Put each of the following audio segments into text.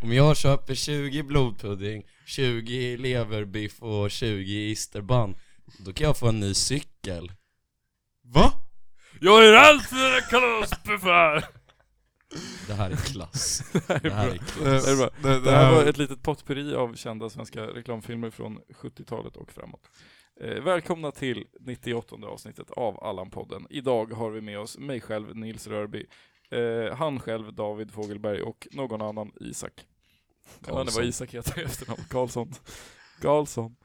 Om jag köper 20 blodpudding, 20 leverbiff och 20 isterband, då kan jag få en ny cykel. Va? Jag är alltid en kalasbuffé! Det här är klass. Det här är klass. Det, är bra. Det, det här var ett litet potpurri av kända svenska reklamfilmer från 70-talet och framåt. Eh, välkomna till 98 avsnittet av Allan-podden. Idag har vi med oss mig själv, Nils Rörby, eh, han själv, David Fogelberg och någon annan, Isak. Kan han det Karlsson. vara Isak heter i efternamn? Karlsson. Karlsson.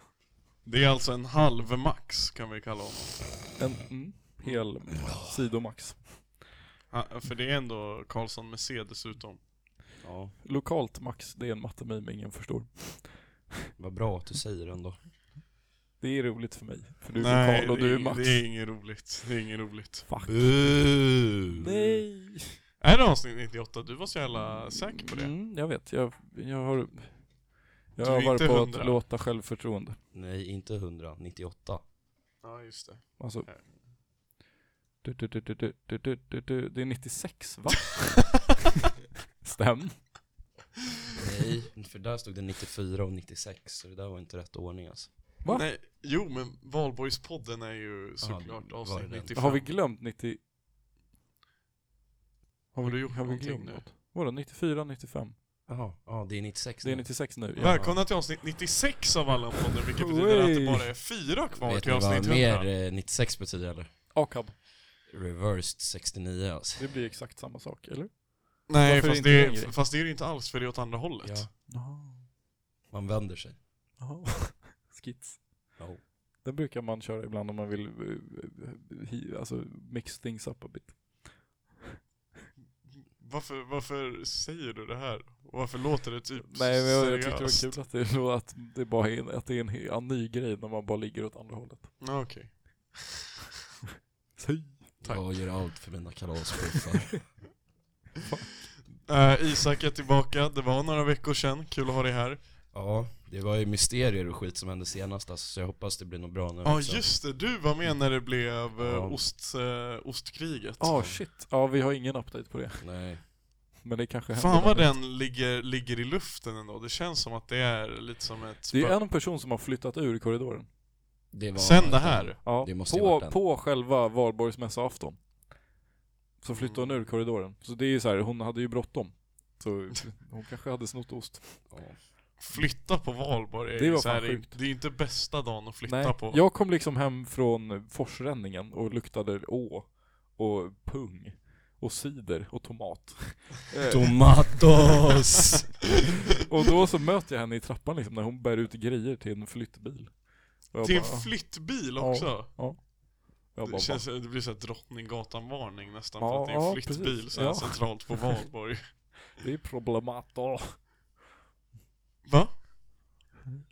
det är alltså en halv max kan vi kalla honom. En mm, hel sidomax. Ha- För det är ändå Karlsson med C dessutom. Ja, Lokalt max, det är en mattemim ingen förstår. vad bra att du säger ändå. Det är roligt för mig, för du är Nej, lokal och det du är max. Det är inget roligt. Det är inget roligt. Fuck. Boo. Nej! Är det avsnitt 98? Du var så jävla säker på det. Mm, jag vet, jag, jag har... Jag Du är har varit inte på hundra. att låta självförtroende. Nej, inte 100, 98. Ja, just det. Alltså... Nej. Du, du, du, du, du, du, du, du, du. Det är 96 va? Stäm. Nej, för där stod det 94 och 96, så det där var inte rätt ordning alltså. Va? Nej, jo men Valborgspodden är ju såklart det var avsnitt det. 95. Har vi glömt 90... Har Har vi, du gjort har vi någonting glömt nu? något? Vadå 94, 95? Jaha, ja det är 96 Det är nu. 96 nu. Ja. Välkomna till avsnitt 96 av alla podden, vilket betyder att det bara är fyra kvar Vet till ni avsnitt vad 100. mer eh, 96 betyder eller? Akab. Reversed 69 alltså. Det blir exakt samma sak, eller? Nej, Varför är fast det det, inte längre? är, fast det är det inte alls, för det är åt andra hållet. Ja, Jaha. man vänder sig. Jaha. Skits. Ja. Den brukar man köra ibland om man vill eh, hi- alltså mix things up a bit. Varför, varför säger du det här? Och varför låter det typ Nej men jag, jag tyckte det seriöst? var kul att det, var- att det bara är, en- att det är en, he- en ny grej när man bara ligger åt andra hållet. Ja, Okej. Tack. Jag gör allt för mina kalaspuffar. Eh, Isak är tillbaka, det var några veckor sedan, kul att ha dig här. ja, det var ju mysterier och skit som hände senast alltså, så jag hoppas det blir något bra nu Ja också. just det, du var med när det blev eh, Ja. ost, eh, ostkriget. Ah shit, ja vi har ingen update på det. Nej. Men det kanske Fan händer vad någon gång. den ligger, ligger i luften ändå, det känns som att det är lite som ett... Det spö- är en person som har flyttat ur korridoren. Det var Sen det här. Ja, Det måste ju varit på, den. på själva valborgsmässoafton. Så flyttade Mm. hon ur korridoren. Så det är ju så här, hon hade ju bråttom. Så hon kanske hade snott ost. Ja. Flytta på valborg är Det ju var så här, fan sjukt. det är ju inte bästa dagen att flytta på. Jag kom liksom hem från forsränningen och luktade å och pung och cider och tomat. Tomatos! och då så möter jag henne i trappan liksom när hon bär ut grejer till en flyttbil. Och jag Till bara, en flyttbil också. jag bara, Det, känns, det blir så här Drottninggatan-varning nästan Ja, för att det är ja, en flyttbil precis. så här Ja. centralt på Valborg. det är problemato. Va?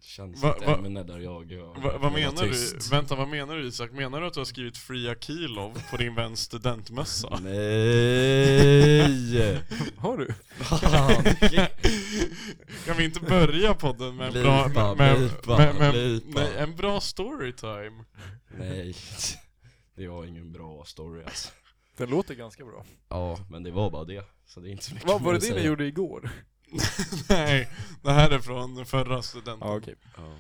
Känns Va- ett va- ämne där jag... jag Va, vad jag menar tyst. du? Vänta, vad menar du Isak? Menar du att du har skrivit Free Akilov på din vän studentmössa? Nej! Har du? Fan, klipp. kan vi inte börja podden med en bra... Lipa, Med, med, lipa, med, med, lipa. Nej, en bra storytime. Nej, det var ingen bra story alltså. Den låter ganska bra. Ja, men det var bara det. Så det är inte så mycket Vad var mer det att det ni säga. gjorde igår? nej, det här är från förra studenten. Ja okej. Ja,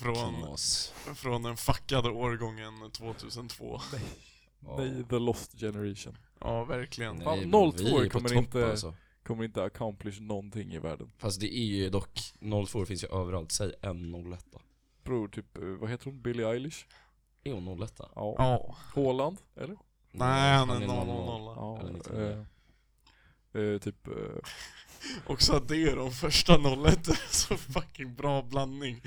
från, knas. från den fuckade årgången 2002. Ja. Nej, the lost generation. Ja, verkligen. Nej, Fan, men 02 vi är på kommer topp, inte- Alltså. Kommer inte accomplish någonting i världen. Fast det är ju dock, 02 finns ju överallt, säg en 01 då. Bror, typ, eh, vad heter hon? Billie Eilish? Är hon 01 Ja. Ja. Haaland, eller? Nej, han är 000. Ja, Eller 99. eh, eh, typ, eh, Också att det är de första 01 så fucking bra blandning.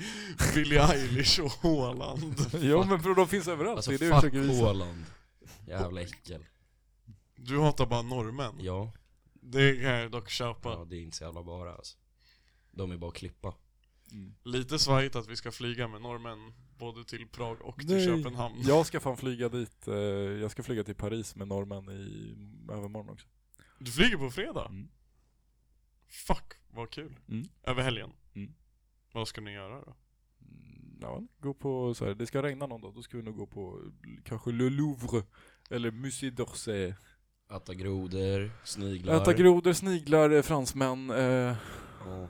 Billie Eilish och Haaland. jo men bror de finns överallt, Alltså det är det jag fuck försöker visa. Åland. Jävla äckel. Du hatar bara norrmän. Ja, Det kan jag dock köpa. ja, det är inte så jävla bara alltså. De är bara att klippa. Mm. Lite svajigt att vi ska flyga med norrmän både till Prag och till Nej. Köpenhamn. Jag ska fan flyga dit, eh, jag ska flyga till Paris med norrmän i övermorgon också. Du flyger på fredag? Mm. Fuck, vad kul. Mm. Över helgen? Mm. Vad ska ni göra då? Mm, Ja, gå på så här, det ska regna någon dag, då ska vi nog gå på eh, kanske Le Louvre eller Musée d'Orsay. Äta grodor, sniglar. Äta grodor, sniglar, eh, fransmän, eh, eh,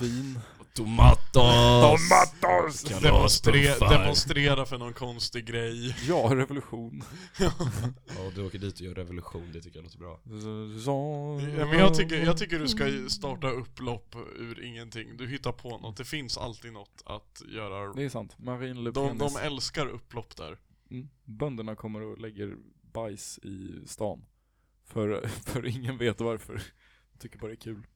vin. Tomatos! Tomatos! Demonstre- Kalaspuffar. demonstrera för någon konstig grej. Ja, revolution. Ja, du åker dit och gör revolution, det tycker jag låter bra. Mm. Ja, men jag, tycker, jag tycker du ska starta upplopp ur ingenting. Du hittar på något. Det finns alltid något att göra. Det är sant. Marine Le De, Pen. de älskar upplopp där. Mm. Bönderna kommer och lägger bajs i stan. För, för ingen vet varför. Tycker bara det är kul.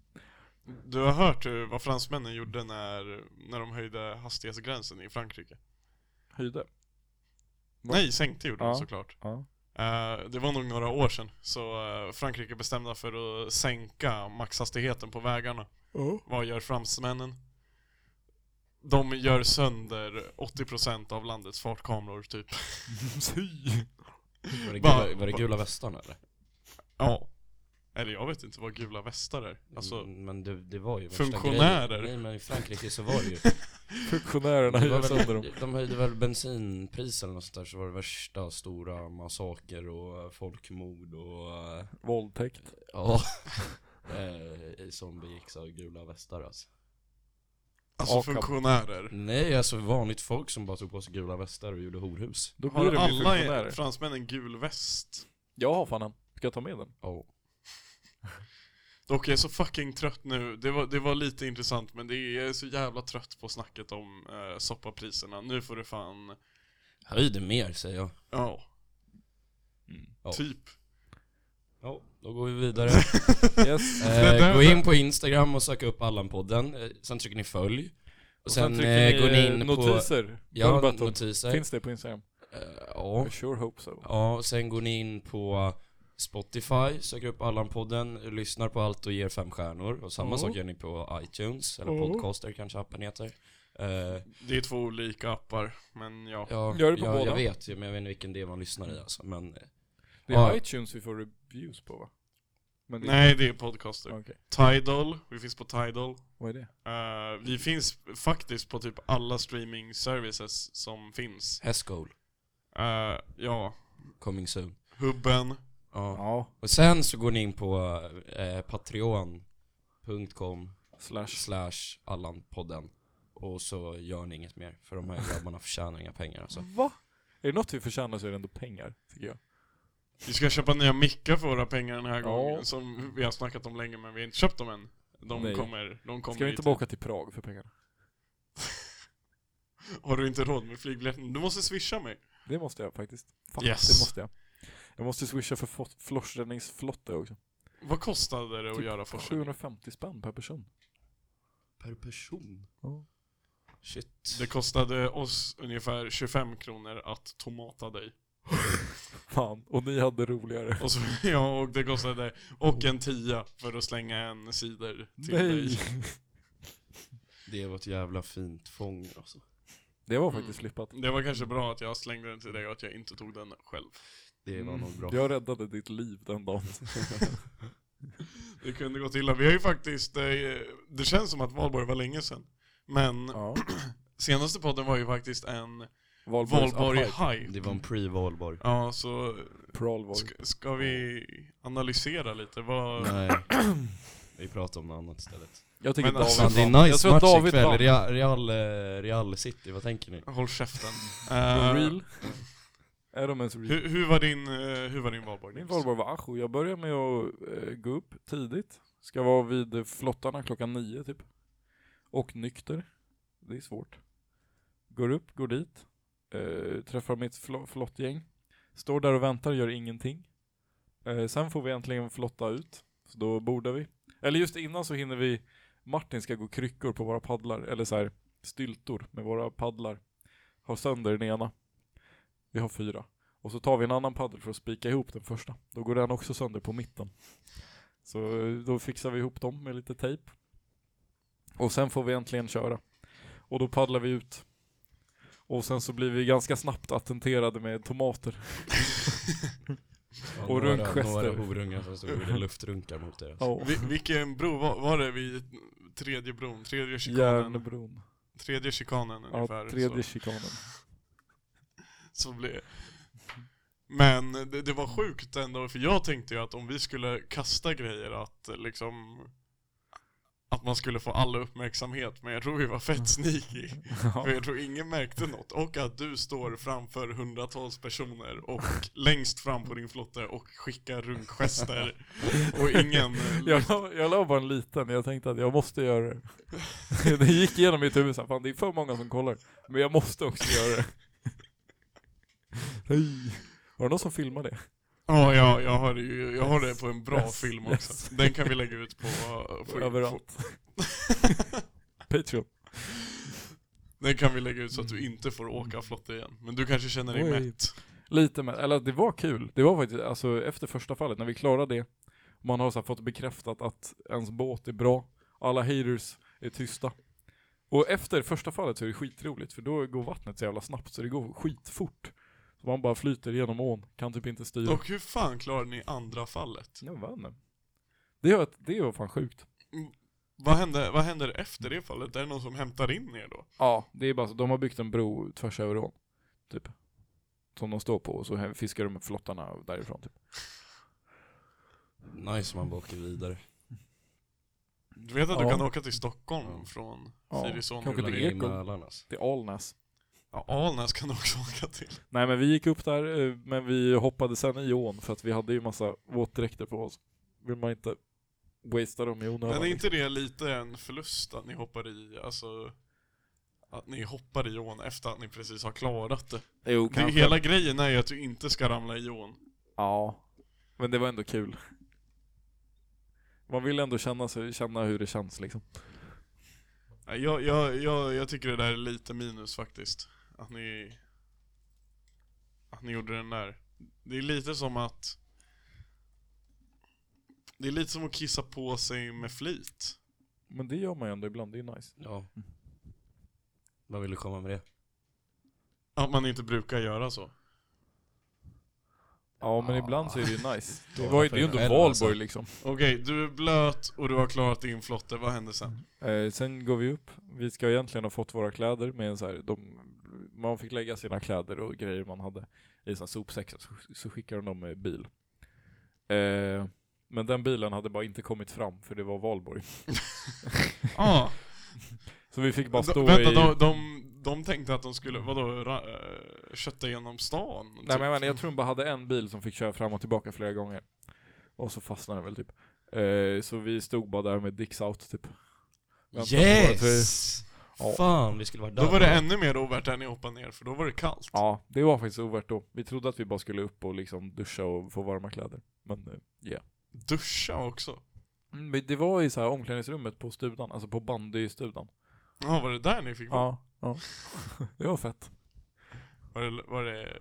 Du har hört eh, vad fransmännen gjorde när, när de höjde hastighetsgränsen i Frankrike? Höjde. Va? Nej, sänkte gjorde de Ja. såklart. Ja. Eh, det var nog några år sedan, så eh, Frankrike bestämde för att sänka maxhastigheten på vägarna. Vad gör fransmännen? De gör sönder 80% av landets fartkameror typ. Sy. Var det Bara- gula, var det bara- gula västarna eller? Ja. Eller jag vet inte vad gula västar är. Alltså, Mm, men det, det var ju värsta Funktionärer. grejen. Nej men i Frankrike så var det ju Funktionärerna det gör var sönder dem. väl, De höjde väl bensinpriser eller något sånt där så var det värsta stora massaker och eh, folkmord och eh, Våldtäkt. ja eh, som begicks av gula västar alltså. alltså Akab. funktionärer. Nej alltså vanligt folk som bara tog på sig gula västar och gjorde horhus. Då blir Har det väl alla funktionärer. i- fransmän en gul väst? Jag har fan den. Ska jag ta med den? Ja. Dock, jag är så fucking trött nu. Det var, det var lite intressant, men det är, jag är så jävla trött på snacket om eh, soppapriserna. Nu får du fan... Höjde mer säger jag. Ja, Ja. typ. Ja, då går vi vidare. Yes. Eh, gå in på Instagram och sök upp Allan-podden, eh, sen trycker ni följ. Och sen, eh, går ni in på... notiser. på... Ja, Notiser. notiser. Finns det på Instagram? Eh, ja. I sure hope so. ja, och sen går ni in på Spotify, söker upp Allan-podden, lyssnar på allt och ger fem stjärnor. Och samma Mm. sak gör ni på iTunes, eller Mm. Podcaster kanske appen heter. Eh, Det är två olika appar, men ja. ja, Gör det på jag, båda. Jag vet ju, men jag vet inte vilken del man lyssnar i alltså. Men, eh, Det är Ja. iTunes vi får reviews på va? Men det- Nej, det är podcaster. Okej. Tidal, vi finns på Tidal. Vad är det? Eh, vi finns faktiskt på typ alla streaming services som finns. Hescool, Eh, ja, coming soon. Hubben. Ja. Ja. Och sen så går ni in på eh, patreon.com Slash. slash Allan-podden och så gör ni inget mer för de här grabbarna förtjänar inga pengar alltså. Va? Är det något vi förtjänar så är det ändå pengar, tycker jag. Vi ska köpa nya mickar för våra pengar den här Ja. gången, som vi har snackat om länge men vi har inte köpt dem än. De Nej. kommer, de kommer Ska vi hit. inte bara åka till Prag för pengarna? Har du inte råd med flygbiljetten? Du måste swisha mig. Det måste jag faktiskt. Fan, Yes. det måste jag. Jag måste swisha för fo- florsräddningsflotte också. Vad kostade det att Typ göra forskning? 750 spänn per person. Per person? Ja. Shit. Det kostade oss ungefär 25 kronor att tomata dig. Fan, och ni hade roligare. Och så, ja, och det kostade, och en tia för att slänga en cider till Nej! dig. Det var ett jävla fint fång alltså. Det var faktiskt slippat. Det var kanske bra att jag slängde den till dig och att jag inte tog den själv. Det var nog bra. Mm. Jag räddade ditt liv den dagen. Det kunde gått illa. Vi har ju faktiskt, eh, det känns som att valborg var länge sedan. Men ja. senaste podden var ju faktiskt en Valborgs upphike. Det valborg-hype. var en pre-valborg. Ja, så Pralvalg. ska, ska vi analysera lite? Vad... Nej. Vi pratar om något annat istället. Jag tycker Men alltså, Fan David det är vann. en Jag nice tror att match ikväll, David vann. Real, Real, eh, Real City, vad tänker ni? Håll käften. Är Eh, de real? Är de ens real? hur, hur, var din, eh, hur var din valborg? Min Nils? valborg var ajo. Jag började med att eh, gå upp tidigt. Ska vara vid eh, flottarna klockan nio typ. Och nykter. Det är svårt. Går upp, går dit. Eh, träffar mitt fl- flottgäng. Står där och väntar, gör ingenting. Eh, sen får vi äntligen flotta ut. Så då bordar vi. Eller just innan så hinner vi Martin ska gå kryckor på våra paddlar. Eller så här styltor med våra paddlar. Har sönder den ena. Vi har fyra. Och så tar vi en annan paddel för att spika ihop den första. Då går den också sönder på mitten. Så eh, då fixar vi ihop dem med lite tejp. Och sen får vi äntligen köra. Och då paddlar vi ut. Och sen så blir vi ganska snabbt attenterade med tomater. Ja, Och några- runkgester. Några horungar som stod och gjorde luftrunkar mot er. alltså. Ja, Vi, vilken bro var, var det vid tredje bron? Tredje chikanen? Järnbron. Tredje chikanen ungefär. Ja, så- tredje chikanen. Så blev Men det, det var sjukt ändå, för jag tänkte ju att om vi skulle kasta grejer att eh, liksom att man skulle få all uppmärksamhet, men jag tror vi var fett sneaky. För Mm. Ja. jag tror ingen märkte något. Och att du står framför hundratals personer och längst fram på din flotte och skickar runkgester. Och ingen... Jag, la- jag la bara en liten, jag tänkte att jag måste göra det. Det gick igenom mitt huvud såhär, fan det är för många som kollar. Men jag måste också göra det. Hej. Var det någon som filmade det? Ja, ja, jag har det ju, jag har det på en bra Yes, film också. yes. Den kan vi lägga ut på... på Överallt. Patreon. Den kan vi lägga ut så att du inte får åka flotte igen. Men du kanske känner dig Mm. Oj. mätt. Lite med, eller det var kul. Det var faktiskt, alltså efter första fallet, när vi klarade det, man har så här fått bekräftat att ens båt är bra, alla haters är tysta. Och efter första fallet så är det skitroligt, för då går vattnet så jävla snabbt, så det går skitfort. Så man bara flyter genom ån, kan typ inte styra. Och hur fan klarar ni andra fallet? Jag vann den. Det var, det var fan sjukt. Vad händer, vad händer efter det fallet? Är det någon som hämtar in er då? Ja, det är bara så, de har byggt en bro tvärs över ån, typ. Som de står på, och så här fiskar de flottarna därifrån typ. Nice om man bara åker vidare. Du vet att du Ja. kan åka till Stockholm från Ja, Fyrisån? kanske eller- det. Rullar in i Eko. Mälaren alltså. Det är Alnäs. Ja, Alnäs kan du också åka till. Nej men vi gick upp där, eh, men vi hoppade sen i ån för att vi hade ju massa våtdräkter på oss. Vill man inte wastea dem i onödan? Men är inte det lite en förlust att ni hoppar i, alltså att ni hoppar i ån efter att ni precis har klarat det. Jo, det hela grejen är ju att du inte ska ramla i ån. Ja. Men det var ändå kul. Man vill ändå känna, sig, känna hur det känns liksom. Nej, Jag, jag, jag, jag tycker det där är lite minus faktiskt. Att ni... Att ni gjorde den där. Det är lite som att... Det är lite som att kissa på sig med flit. Men det gör man ju ändå ibland, det är ju nice. Ja. Vad vill du komma med det? Att man inte brukar göra så. Ja men Ja. ibland så är det ju nice. Det, Ja, var ju, det för är ju ändå själv, valborg alltså. liksom. Okej, du är blöt och du har klarat din flotte. Vad hände sen? Eh, sen går vi upp, vi ska egentligen ha fått våra kläder med en så här, de, man fick lägga sina kläder och grejer man hade i sån här sopsäckar, så, så skickade de dem med bil. Eh, men den bilen hade bara inte kommit fram för det var valborg. Ah, Så vi fick bara d- stå vänta, i... de, de, de tänkte att de skulle, vadå, ra- eh, kötta genom stan? Nej typ. men jag, menar, jag tror de bara hade en bil som fick köra fram och tillbaka flera gånger. Och så fastnade den väl typ. Eh, så vi stod bara där med dicks out typ. Vänta, Yes! Ja. Fan, vi skulle varit där. Då var det ännu mer ovärt när ni hoppade ner, för då var det kallt. Ja, det var faktiskt ovärt då. Vi trodde att vi bara skulle upp och liksom duscha och få varma kläder. Men eh, Duscha också. Mm, Men det var i så här omklädningsrummet på studan, alltså på bandystudan. Ja, var det där ni fick vara? Ja, ja. Det var fett. Var det, var det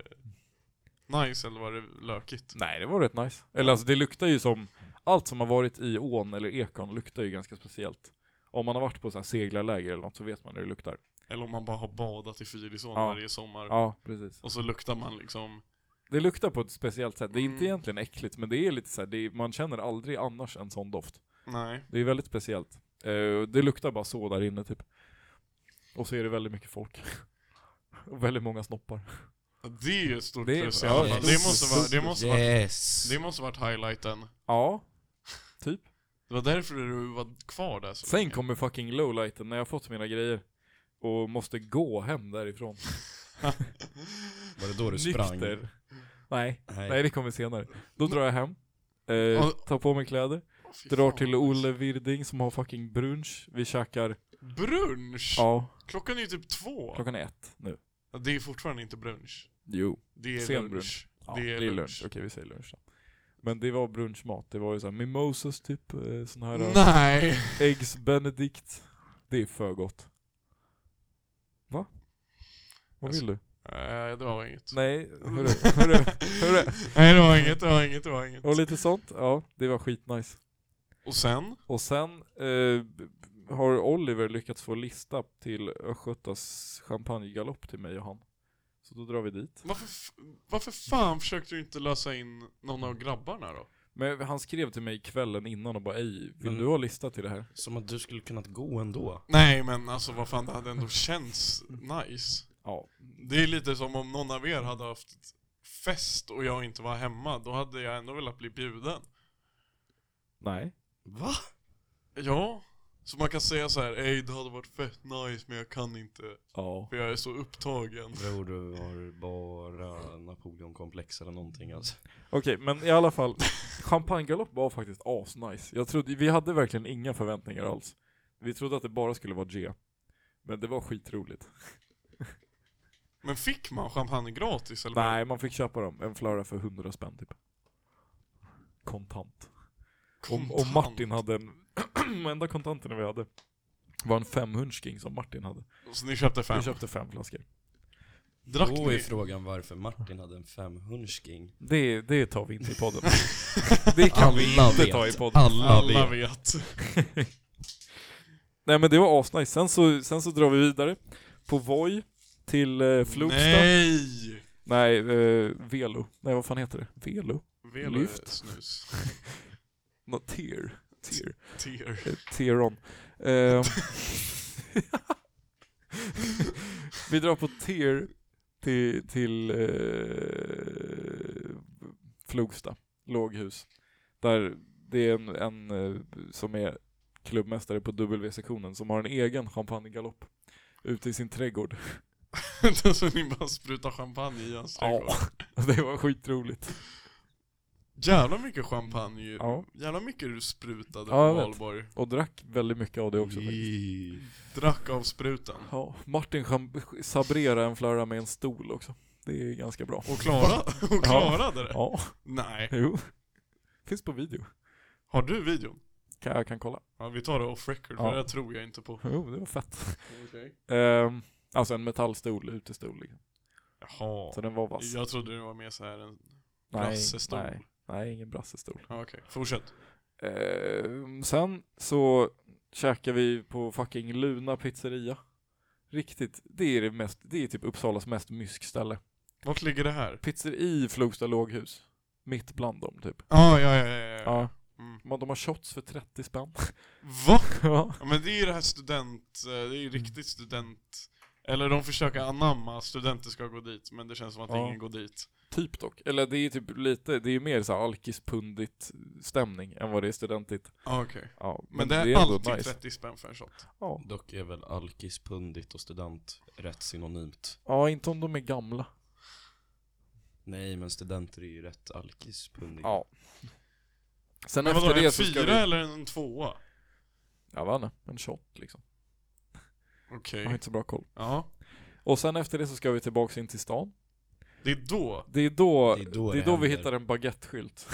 nice eller var det lökigt? Nej, det var rätt nice. Eller alltså det luktar ju som, allt som har varit i ån eller ekon luktar ju ganska speciellt. Om man har varit på så här seglarläger eller något så vet man hur det luktar. Eller om man bara har badat i Fyrisån Ja. när det är sommar. Ja, precis. Och så luktar man liksom, Det luktar på ett speciellt sätt. Det är inte Mm. egentligen äckligt, men det är lite så här, det är, man känner aldrig annars en sån doft. nej. Det är väldigt speciellt. Eh, och det luktar bara så där inne typ. Och så är det väldigt mycket folk. Och väldigt många snoppar. Det är ju ett stort Det är- plus i ja, alla det är fall. Det måste vara, det måste vara, Yes! det måste varit highlighten. Ja, typ. Det var därför du var kvar där så Sen länge. kommer fucking lowlighten när jag fått mina grejer och måste gå hem därifrån. Var det då du sprang? Nykter. Nej, Nej. nej det kommer senare. Då drar jag hem, eh, Och- tar på mig kläder, Åh, fy drar fan. till Olle Wirding som har fucking brunch. Vi käkar, Brunch! ja, Klockan är ju typ två. klockan är ett nu. Ja, Det är fortfarande inte brunch. Jo, Det är Sen lunch. brunch. ja, Det är lunch. Okej, vi säger lunch då. Men det var brunchmat, det var ju såhär mimosas typ, eh, sån här eh, Nej! eggs benedict. Det är för gott. Va? Vad vill du? Nej, det var inget. Nej, hörru, hörru, hörru. Nej, det var inget, det var inget, det var inget. Och lite sånt, ja det var skitnice. Och sen? Och sen eh, b- b- har Oliver lyckats få lista till Östgötas champagnegalopp till mig och han. Så då drar vi dit. Varför, f- varför fan försökte du inte lösa in någon av grabbarna då? Men han skrev till mig kvällen innan och bara ej, vill Mm. du ha lista till det här? Som att du skulle kunnat gå ändå. Nej men alltså vad fan, det hade ändå känts nice. Ja. Det är lite som om någon av er hade haft ett fest och jag inte var hemma, då hade jag ändå velat bli bjuden. Nej. Va? Ja, Så man kan säga så här, ej det hade varit fett nice men jag kan inte Ja. för jag är så upptagen. Bror du har bara Napoleonkomplex eller någonting alltså. Okej, men i alla fall. Champagnegalopp var faktiskt asnice. Jag trodde, vi hade verkligen inga förväntningar alls. Vi trodde att det bara skulle vara G. Men det var skitroligt. Men fick man champagne gratis eller? Nej, man fick köpa dem. En flöra för 100 spänn typ. Kontant. Kontant. Och Martin hade en... de enda kontanterna vi hade var en femhundsking som Martin hade. Så ni köpte fem? Vi köpte fem flaskor. Drack Då är ni? frågan varför Martin hade en femhundsking. Det, det tar vi inte i podden. det kan vi Alla inte vet. ta i podden. Alla, Alla vet. vet. Nej men det var asnice. Sen så, sen så drar vi vidare på Voi till eh, Flogsta. Nej, Nej! eh, Velo. Nej vad fan heter det? Velo? Velo är Lyft. snus. No, tier. Tier. Tear. Eh, Tieron. Eh, vi drar på Tier till, till eh, Flogsta. Låghus. Där det är en, en eh, som är klubbmästare på W-sektionen som har en egen champagnegalopp ute i sin trädgård. så ni bara sprutar champagne i hans trädgård. Ja, det var skitroligt. Jävla mycket champagne. Ja. Jävla mycket du sprutade Ja, jag på vet. valborg. Och drack väldigt mycket av det också faktiskt. Drack av sprutan. Ja, Martin cham- sabrerade en flöra med en stol också. Det är ganska bra. Och, klara, och klarade det? Ja, Nej. jo. Finns på video. Har du videon? Kan, jag kan kolla. Ja, vi tar det off record, för Ja. det här tror jag inte på. Jo, det var fett. Okay. Ehm, alltså en metallstol, utestol liksom. Så Jaha. den var vass. Jag trodde det var mer så här en nej, brassestol. nej, nej, ingen brassestol. Ja, okej. Fortsätt. Ehm, sen så käkar vi på fucking Luna pizzeria. Riktigt, det är det mest, det är typ Uppsalas mest myskställe. Vart ligger det här? pizzor i Flogsta låghus. Mitt bland dem typ. Ah, ja, ja, ja, ja. Ja. Mm. Men de har shots för 30 spänn. Va? ja. Ja men det är ju det här student, eh, det är ju riktigt student Eller de försöker anamma att studenter ska gå dit men det känns som att Ja. ingen går dit Typ dock. Eller det är typ lite, det är mer så här alkispundit stämning än vad det är studentigt. ah, okej Ja, Men, det är, ändå alltid 30 spänn för en shot Ja. Dock är väl alkis, pundit och student rätt synonymt? ja, inte om de är gamla. Nej men studenter är ju rätt alkis, pundit. Ja. Sen Men efter vadå, det en så ska fyra vi... eller en tvåa? Jag vet inte, en shot liksom. Okej, Jag har inte så bra koll. ja Och sen efter det så ska vi tillbaks in till stan. Det är då? Det är då, Det är då det är det då händer. vi hittar en baguetteskylt.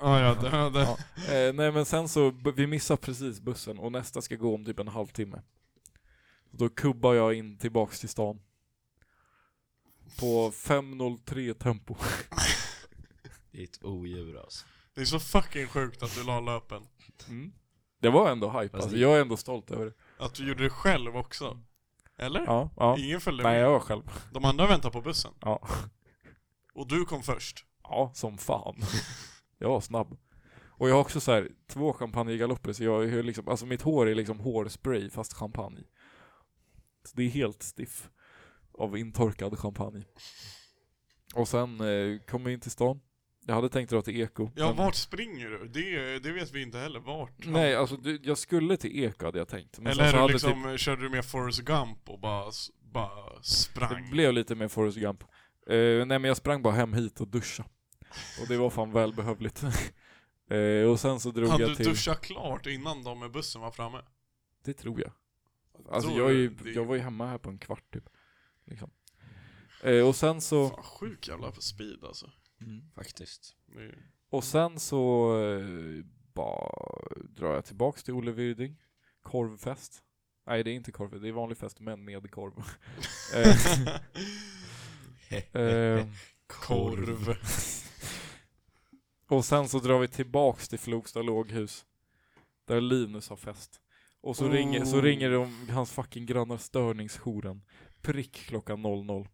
Ah, ja, det, det. Ja. Eh, nej men sen så, b- vi missar precis bussen och nästa ska gå om typ en halvtimme. Då kubbar jag in tillbaks till stan. På 5.03 tempo. Det är ett odjur alltså. det är så fucking sjukt att du la löpen Mm. Det var ändå hype, alltså, jag är ändå stolt över det. Att du gjorde det själv också Eller? Ja, ja. Ingen följde Nej med, jag var själv. de andra väntar på bussen Ja. Och du kom först ja, som fan. Jag var snabb. Och jag har också så här två champagnegalopper så jag är liksom, alltså mitt hår är liksom hårspray fast champagne. Så det är helt stiff av intorkad champagne. Och sen eh, kom vi in till stan. Jag hade tänkt dra till Eko. Ja, men- vart springer du? Det, det vet vi inte heller, vart? Mm. Nej, alltså du, jag skulle till Eko hade jag tänkt. Men sen Eller så är hade typ- du liksom, körde du med Forrest Gump och bara, s- bara sprang? Det blev lite mer Forrest Gump. Eh, nej men jag sprang bara hem hit och duscha. Och det var fan välbehövligt. Eh, och sen så drog Hann jag du till... duscha klart innan de med bussen var framme? Det tror jag. Alltså Tror jag, är, du ju- det? jag var ju hemma här på en kvart typ. Liksom. Eh, och sen så... Fan, sjuk jävla speed alltså. Mm. Faktiskt. Det är- Och sen så eh, bara drar jag tillbaks till Olle Virding. Korvfest. Nej det är inte korvfest, det är vanlig fest men med korv. eh, eh, Korv. och sen så drar vi tillbaks till Flogsta låghus. Där Linus har fest. Och så, ringer, så Oh. ringer de hans fucking grannar störningsjouren. Prick klockan 00.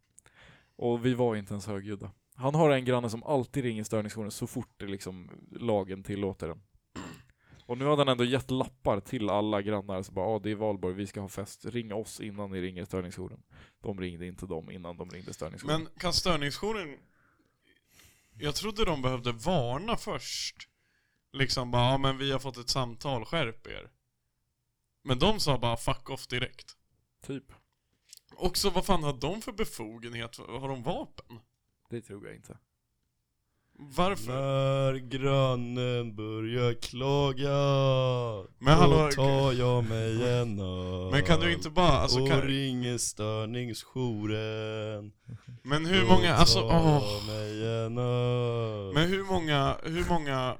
Och vi var inte ens högljudda. Han har en granne som alltid ringer störningsjouren så fort det liksom lagen tillåter den. Och nu hade han ändå gett lappar till alla grannar så bara ah, det är valborg, vi ska ha fest, ring oss innan ni ringer störningsjouren. De ringde inte dem innan de ringde störningsjouren. Men kan störningsjouren... Jag trodde de behövde varna först. Liksom bara, ja men vi har fått ett samtal, skärp er. Men de sa bara 'fuck off' direkt. Typ. Också, vad fan har de för befogenhet? Har de vapen? Det tror jag inte. Varför? När grannen börjar klaga Men hallå, Då tar jag mig en öl Men kan du inte bara, alltså Och kan, ringer störningsjouren Men hur Då många, alltså tar åh, jag mig en öl Men hur många, hur många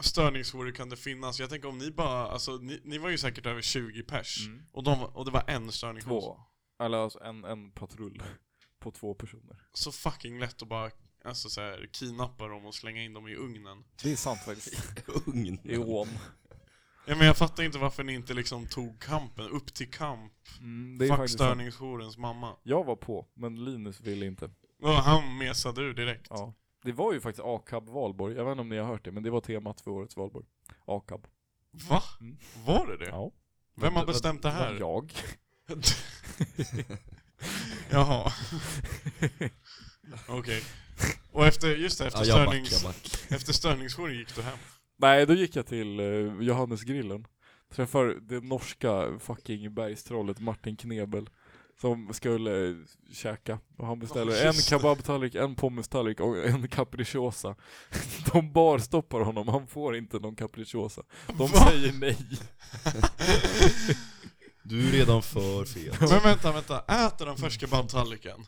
störningsjourer kan det finnas? Jag tänker om ni bara, alltså ni, ni var ju säkert över 20 pers Mm. och, de, och det var en störningsjour Två. Eller alltså en, en patrull på två personer. Så fucking lätt att bara Alltså så här, kidnappa dem och slänga in dem i ugnen. Det är sant faktiskt. Ugn I ån. Ja, men jag fattar inte varför ni inte liksom tog kampen, upp till kamp. Mm, det är Fuck faktiskt sant. störningsjourens mamma. Jag var på, men Linus ville inte. Och han mesade ur direkt. Ja. Det var ju faktiskt AKAB Valborg. Jag vet inte om ni har hört det, men det var temat för årets Valborg. AKAB. Va? Mm. Var det det? Ja. Vem har bestämt det här? var Jag. Jaha. Okej. Och efter, just det, efter, Ja, jag back, jag störnings, back efter störningsjouren gick du hem. Nej, då gick jag till eh, Johannesgrillen. Träffar det norska fucking bergstrollet Martin Knebel. Som skulle eh, käka. Och han beställer Ja, en just det. kebabtallrik, en pommes-tallrik och en capricciosa. De barstoppar honom, han får inte någon capricciosa. De säger nej. Du är redan för fet Men vänta, vänta. Äter han först kebabtallriken?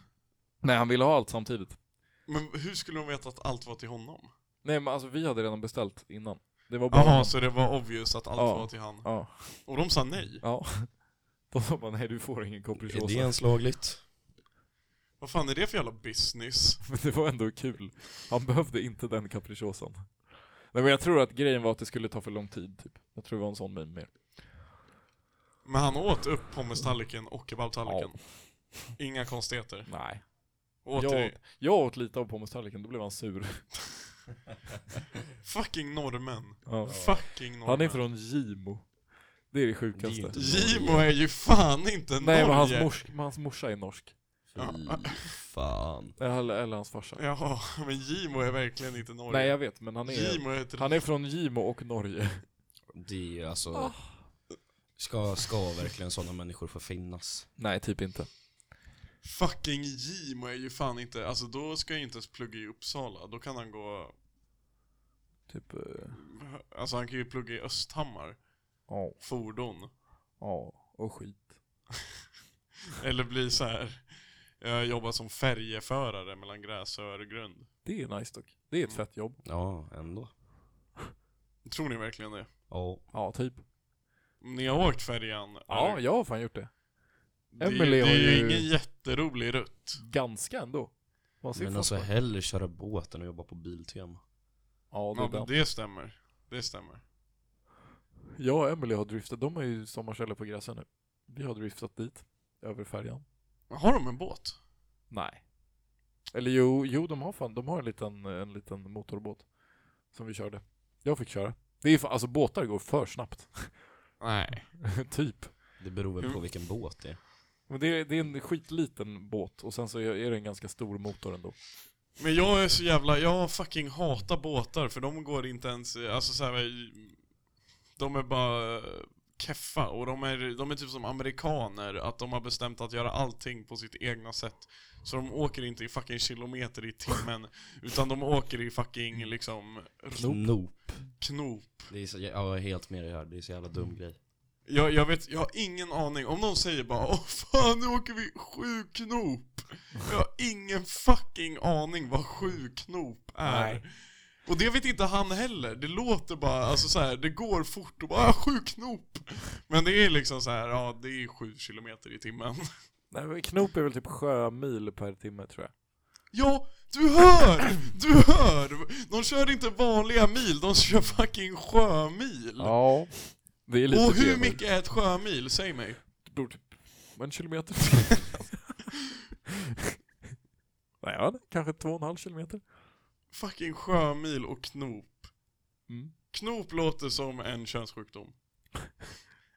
Nej, han ville ha allt samtidigt. Men hur skulle de veta att allt var till honom? Nej men alltså vi hade redan beställt innan. Det var bara... Jaha, så det var obvious att allt Ja. var till han. Ja. Och de sa nej. Ja. De sa bara nej du får ingen Är det capricciosa. ens lagligt? Vad fan är det för jävla business? Men det var ändå kul. Han behövde inte den capricciosan. Nej men jag tror att grejen var att det skulle ta för lång tid typ. Jag tror det var en sån meme mer. Men han åt upp pommes-tallriken och kebabtallriken. Inga konstigheter. Nej. Jag, Återigen, jag åt lite av pommes-tallriken, då blev han sur. fucking norrmän. Ja. Fucking norrmän. Han är från Gimo. Det är det sjukaste. Det är inte- Gimo är ju fan inte Nej men hans, Norge. mors, men hans morsa är norsk. Fy fan Eller, eller hans farsa. Jaha, men Gimo är verkligen inte Norge. Nej jag vet men han är, Gimo är ett... han är från Gimo och Norge. Det är alltså... Ska, ska verkligen sådana människor få finnas? Nej typ inte. Fucking Gimo är ju fan inte... Alltså då ska jag inte ens plugga i Uppsala. Då kan han gå... Typ, eh, Alltså han kan ju plugga i Östhammar. ja. Fordon. Ja, och skit. Eller bli så här. Jag jobbar som färjeförare mellan Gräsö och Öregrund. Det är nice dock. Det är ett fett jobb. Ja, ändå. Tror ni verkligen det? Ja. Ja, typ. Ni har åkt färjan? Ja, Öre- jag har fan gjort det. det, är ju- Emily det har är ju ju- ingen jätterolig rutt. Ganska ändå. Man ser Men fast alltså på- hellre köra båt än att jobba på Biltema. Ja, det Ja, är men den. det stämmer. Det stämmer. Jag och Emily har driftat. De har ju sommarställe på Gräsö nu. Vi har driftat dit. Över färjan. Har de en båt? Nej. Eller jo, jo de har fan, de har en liten, en liten motorbåt. Som vi körde. Jag fick köra. Det är fan, alltså båtar går för snabbt. Nej. typ. Det beror väl på Mm. vilken båt det är. Men det är, det är en skitliten båt och sen så är är det en ganska stor motor ändå. Men jag är så jävla, jag fucking hatar båtar för de går inte ens, alltså så här, de är bara keffa och de är, de är typ som amerikaner, att de har bestämt att göra allting på sitt egna sätt. Så de åker inte i fucking kilometer i timmen, utan de åker i fucking liksom Knop. knop. Det är så, ja, jag är helt med dig här. Det är så jävla dum grej. Jag, jag vet, jag har ingen aning. Om någon säger bara Åh fan, nu åker vi sju knop. Jag har ingen fucking aning vad sju knop är. Nej. Och det vet inte han heller. Det låter bara, alltså så här, det går fort och bara "Ah, sju knop. Men det är liksom så här, ja det är sju kilometer i timmen. Nej, men knop är väl typ sjömil per timme tror jag. Ja, du hör! Du hör! De kör inte vanliga mil, de kör fucking sjömil. Ja. Det är lite och hur trevligt. mycket är ett sjömil? Säg mig. Det beror typ på en kilometer. Nej, ja, kanske två och en halv kilometer. Fucking sjömil och knop. Mm. Knop låter som en könssjukdom.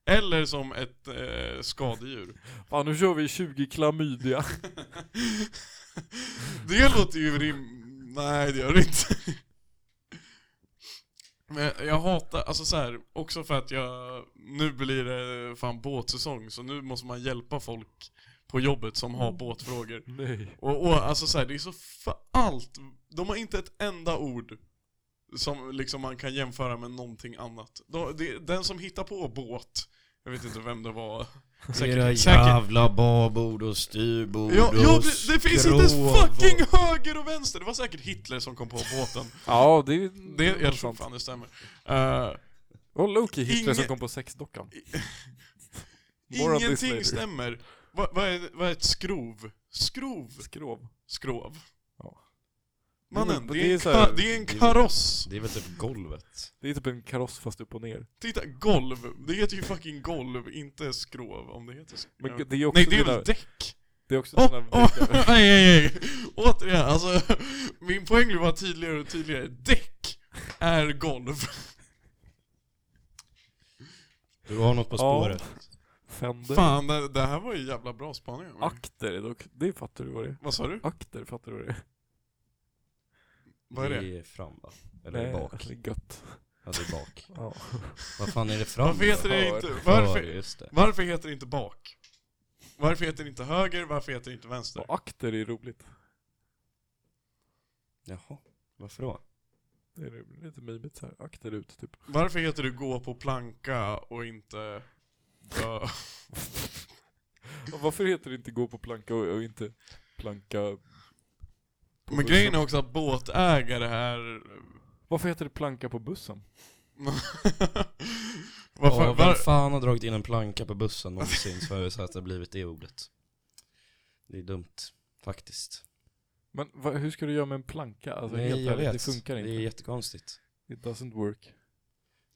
Eller som ett eh, skadedjur. Fan, nu kör vi 20 klamydia. Det låter ju rim... Nej, det gör det inte. Men jag- jag hatar, alltså så här, också för att jag, nu blir det fan båtsäsong så nu måste man hjälpa folk på jobbet som har båtfrågor. Nej. Och, och alltså så här, det är så fa- allt, de har inte ett enda ord som liksom man kan jämföra med någonting annat. De, det, den som hittar på båt, jag vet inte vem det var. Era jävla babord och styrbord Ja, ja, och det, det finns inte skrov ens fucking och- höger och vänster! Det var säkert Hitler som kom på båten. Ja, det är Det, jag tror sant. fan det stämmer. Eh, Och Loki Hitler som Inge- kom på sexdockan. More on this Ingenting later. stämmer. Vad vad är, vad är ett skrov? Skrov? Skrov. Skrov? Ja. Mannen, Det det är är, en så här- ka- det är en det är- kaross! Det är väl typ golvet? Det är typ en kaross fast upp och ner. Titta, golv! Det heter ju fucking golv, inte skrov om det heter skrov. Men det är också Nej, det är dina- väl däck? Det är också Åh, sådana åh, nej, nej, nej. Återigen, alltså min poäng blir bara tydligare och tydligare. Däck är golv. Du har något på Ja. spåret. fender. Fan, det, det här var ju jävla bra spaningar. Akter, är dock- det fattar du vad det är. Vad sa du? Akter, fattar du vad det är? Vad är det? är fram va? Eller är det Nej, bak? det är gött. Ja det är bak. Ja. Vad fan är det fram? Varför heter det Hör. inte... Varför? Varför, Just det. Varför heter det inte bak? Varför heter det inte höger? Varför heter det inte vänster? Och akter är roligt. Jaha, varför då? Det är lite mimigt såhär. Akter ut, typ. Varför heter det gå på planka och inte... Ja, Och varför heter det inte gå på planka och, och inte planka... på Men grejen är också att båtägare är... Varför heter det planka på bussen? Varför, ja, vem var, fan har dragit in en planka på bussen någonsin så har jag sagt att det har blivit det ordet. Det är dumt, faktiskt. Men va, hur ska du göra med en planka? Alltså Nej, helt jag ärligt, vet. det funkar inte. Det är jättekonstigt. It doesn't work.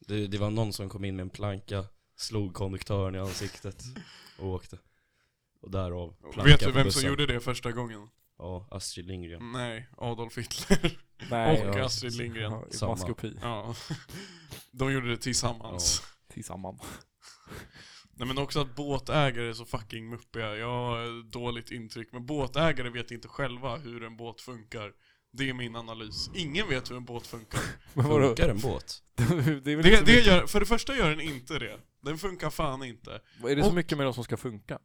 Det, det var någon som kom in med en planka, slog konduktören i ansiktet och åkte. Och därav planka vet du på vem som bussen. gjorde Mm. det första gången? Ja, Astrid Lindgren. Nej, Adolf Hitler. Nej, och ja. Astrid Lindgren. ja, i Samma. maskopi. Ja. De gjorde det tillsammans. Tillsammans. Nej men också att båtägare är så fucking muppiga. Jag har eh, dåligt intryck. Men båtägare vet inte själva hur en båt funkar. Det är min analys. Ingen vet hur en båt funkar. Men vadå? Funkar en båt? det är väl liksom Det, inte det mycket, gör, för det första gör den inte det. Den funkar fan inte. Är det så och- mycket med de som ska funka?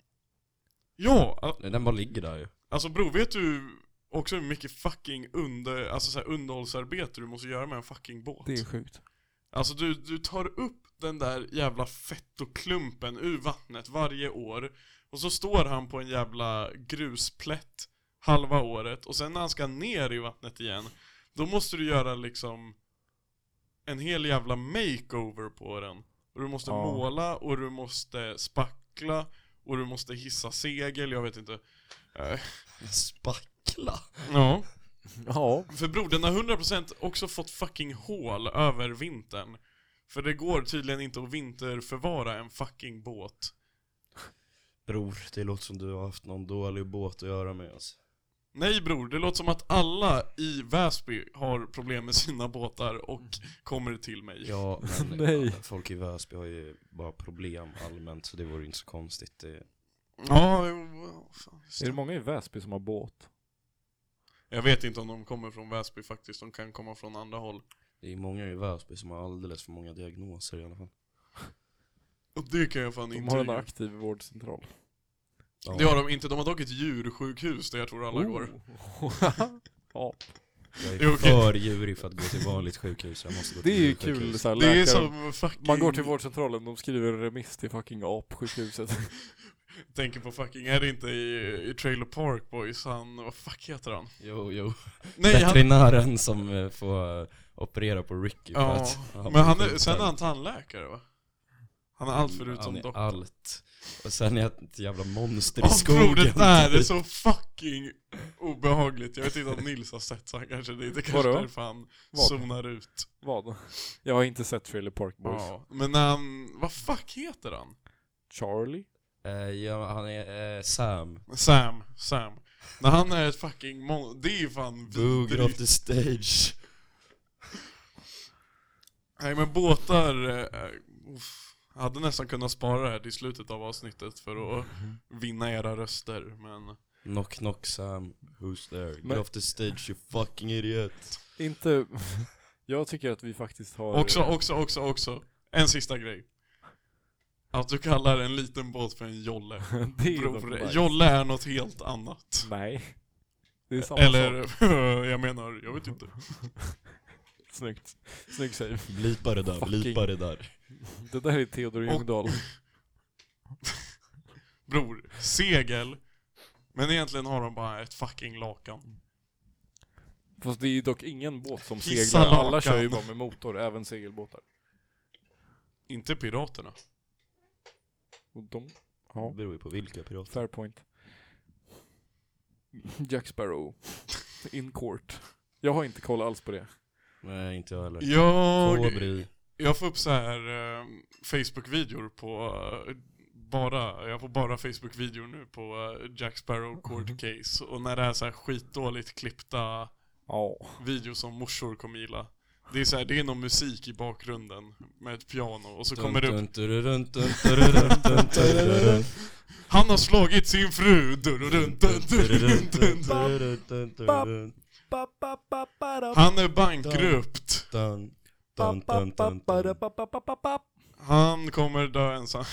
Ja, a- Nej, Den bara ligger där ju. alltså bror vet du också hur mycket fucking under, alltså så här underhållsarbete du måste göra med en fucking båt? Det är sjukt. Alltså du, du tar upp den där jävla fettoklumpen ur vattnet varje år och så står han på en jävla grusplätt halva året och sen när han ska ner i vattnet igen då måste du göra liksom en hel jävla makeover på den. Och du måste Ja. måla och du måste spackla och du måste hissa segel, jag vet inte. Eh, Spackla? Ja. Ja. För bror, den har 100% också fått fucking hål över vintern. För det går tydligen inte att vinterförvara en fucking båt. Bror, det låter som du har haft någon dålig båt att göra med alltså. Nej bror, det låter som att alla i Väsby har problem med sina båtar och kommer till mig. Ja, men Nej. folk i Väsby har ju bara problem allmänt så det vore ju inte så konstigt. Det... Ja, jo, fan, just Är det det. många i Väsby som har båt? Jag vet inte om de kommer från Väsby faktiskt, de kan komma från andra håll. det är många i Väsby som har alldeles för många diagnoser i alla fall. Och det kan jag fan De har en intyga. aktiv vårdcentral. Ja. Det har de inte, de har dock ett djursjukhus där jag tror alla går. Oh. ja. Jag det är är okej. för djurig för att gå till vanligt sjukhus. Jag måste gå Det till är ju djursjukhus. kul såhär, Det är läkare. som fucking... Man går till vårdcentralen, de skriver en remiss till fucking apsjukhuset. Tänker på fucking, är det inte i, i Trailer Park Boys, han, vad fuck heter han? Jo, jo. Nej, han, Veterinären som eh, får eh, operera på Ricky för Ja, att men han är, sen är han tandläkare va? Han är allt förutom Han är doktor. allt. Och sen är han ett jävla monster i Åh bror skogen. det där är så fucking obehagligt. Jag vet inte om Nils har sett så han kanske det, det kanske Vadå? därför han Vad? zonar ut. Vad? Jag har inte sett Trailer Park Boys. Ja. Men när han, vad fuck heter han? Charlie? Eh, ja, han är eh, Sam. Sam, Sam. När han är ett fucking mon- det är ju fan Booger off vidrigt. the stage. Nej men båtar, eh, uff. Jag hade nästan kunnat spara det här till slutet av avsnittet för att Mhm. vinna era röster, men... Knock knock Sam, who's there? Get Men- off the stage you fucking idiot. Inte, Jag tycker att vi faktiskt har... Också, också, också, också. En sista grej. Att du kallar en liten båt för en jolle. det är dock Bror, bajs. jolle är något helt annat. Nej. Det är Mm. samma sak. Eller, jag menar, jag vet inte. Snyggt. Snygg save. Blipa det där, Fucking- blipa det där. Det där är Theodor Ljungdahl. Bror, segel. Men egentligen har de bara ett fucking Mm. lakan. Fast det är ju dock ingen båt som Hissa seglar. Alla lakan. kör ju bara med motor, även segelbåtar. Inte piraterna. Och de... Det Ja, beror ju på vilka pirater. fair point. Jack Sparrow. In court. Jag har inte koll alls på det. Nej, inte jag heller. Jag, Kobri. jag får upp så här eh, Facebook-videor på eh, bara, jag får bara Facebook-videor nu på eh, Jack Sparrow Mhm. Court Case. Och när det är så här skitdåligt klippta Ja. video som morsor kommer gilla. Det är så här, det är någon musik i bakgrunden med ett piano och så kommer det upp Dun, dun, dun, dun, dun, dun, dun, dun, dun. Han har slagit sin fru! Dururun, dun, dururun, dun, dun. Han är bankrupt! Han kommer dö ensam.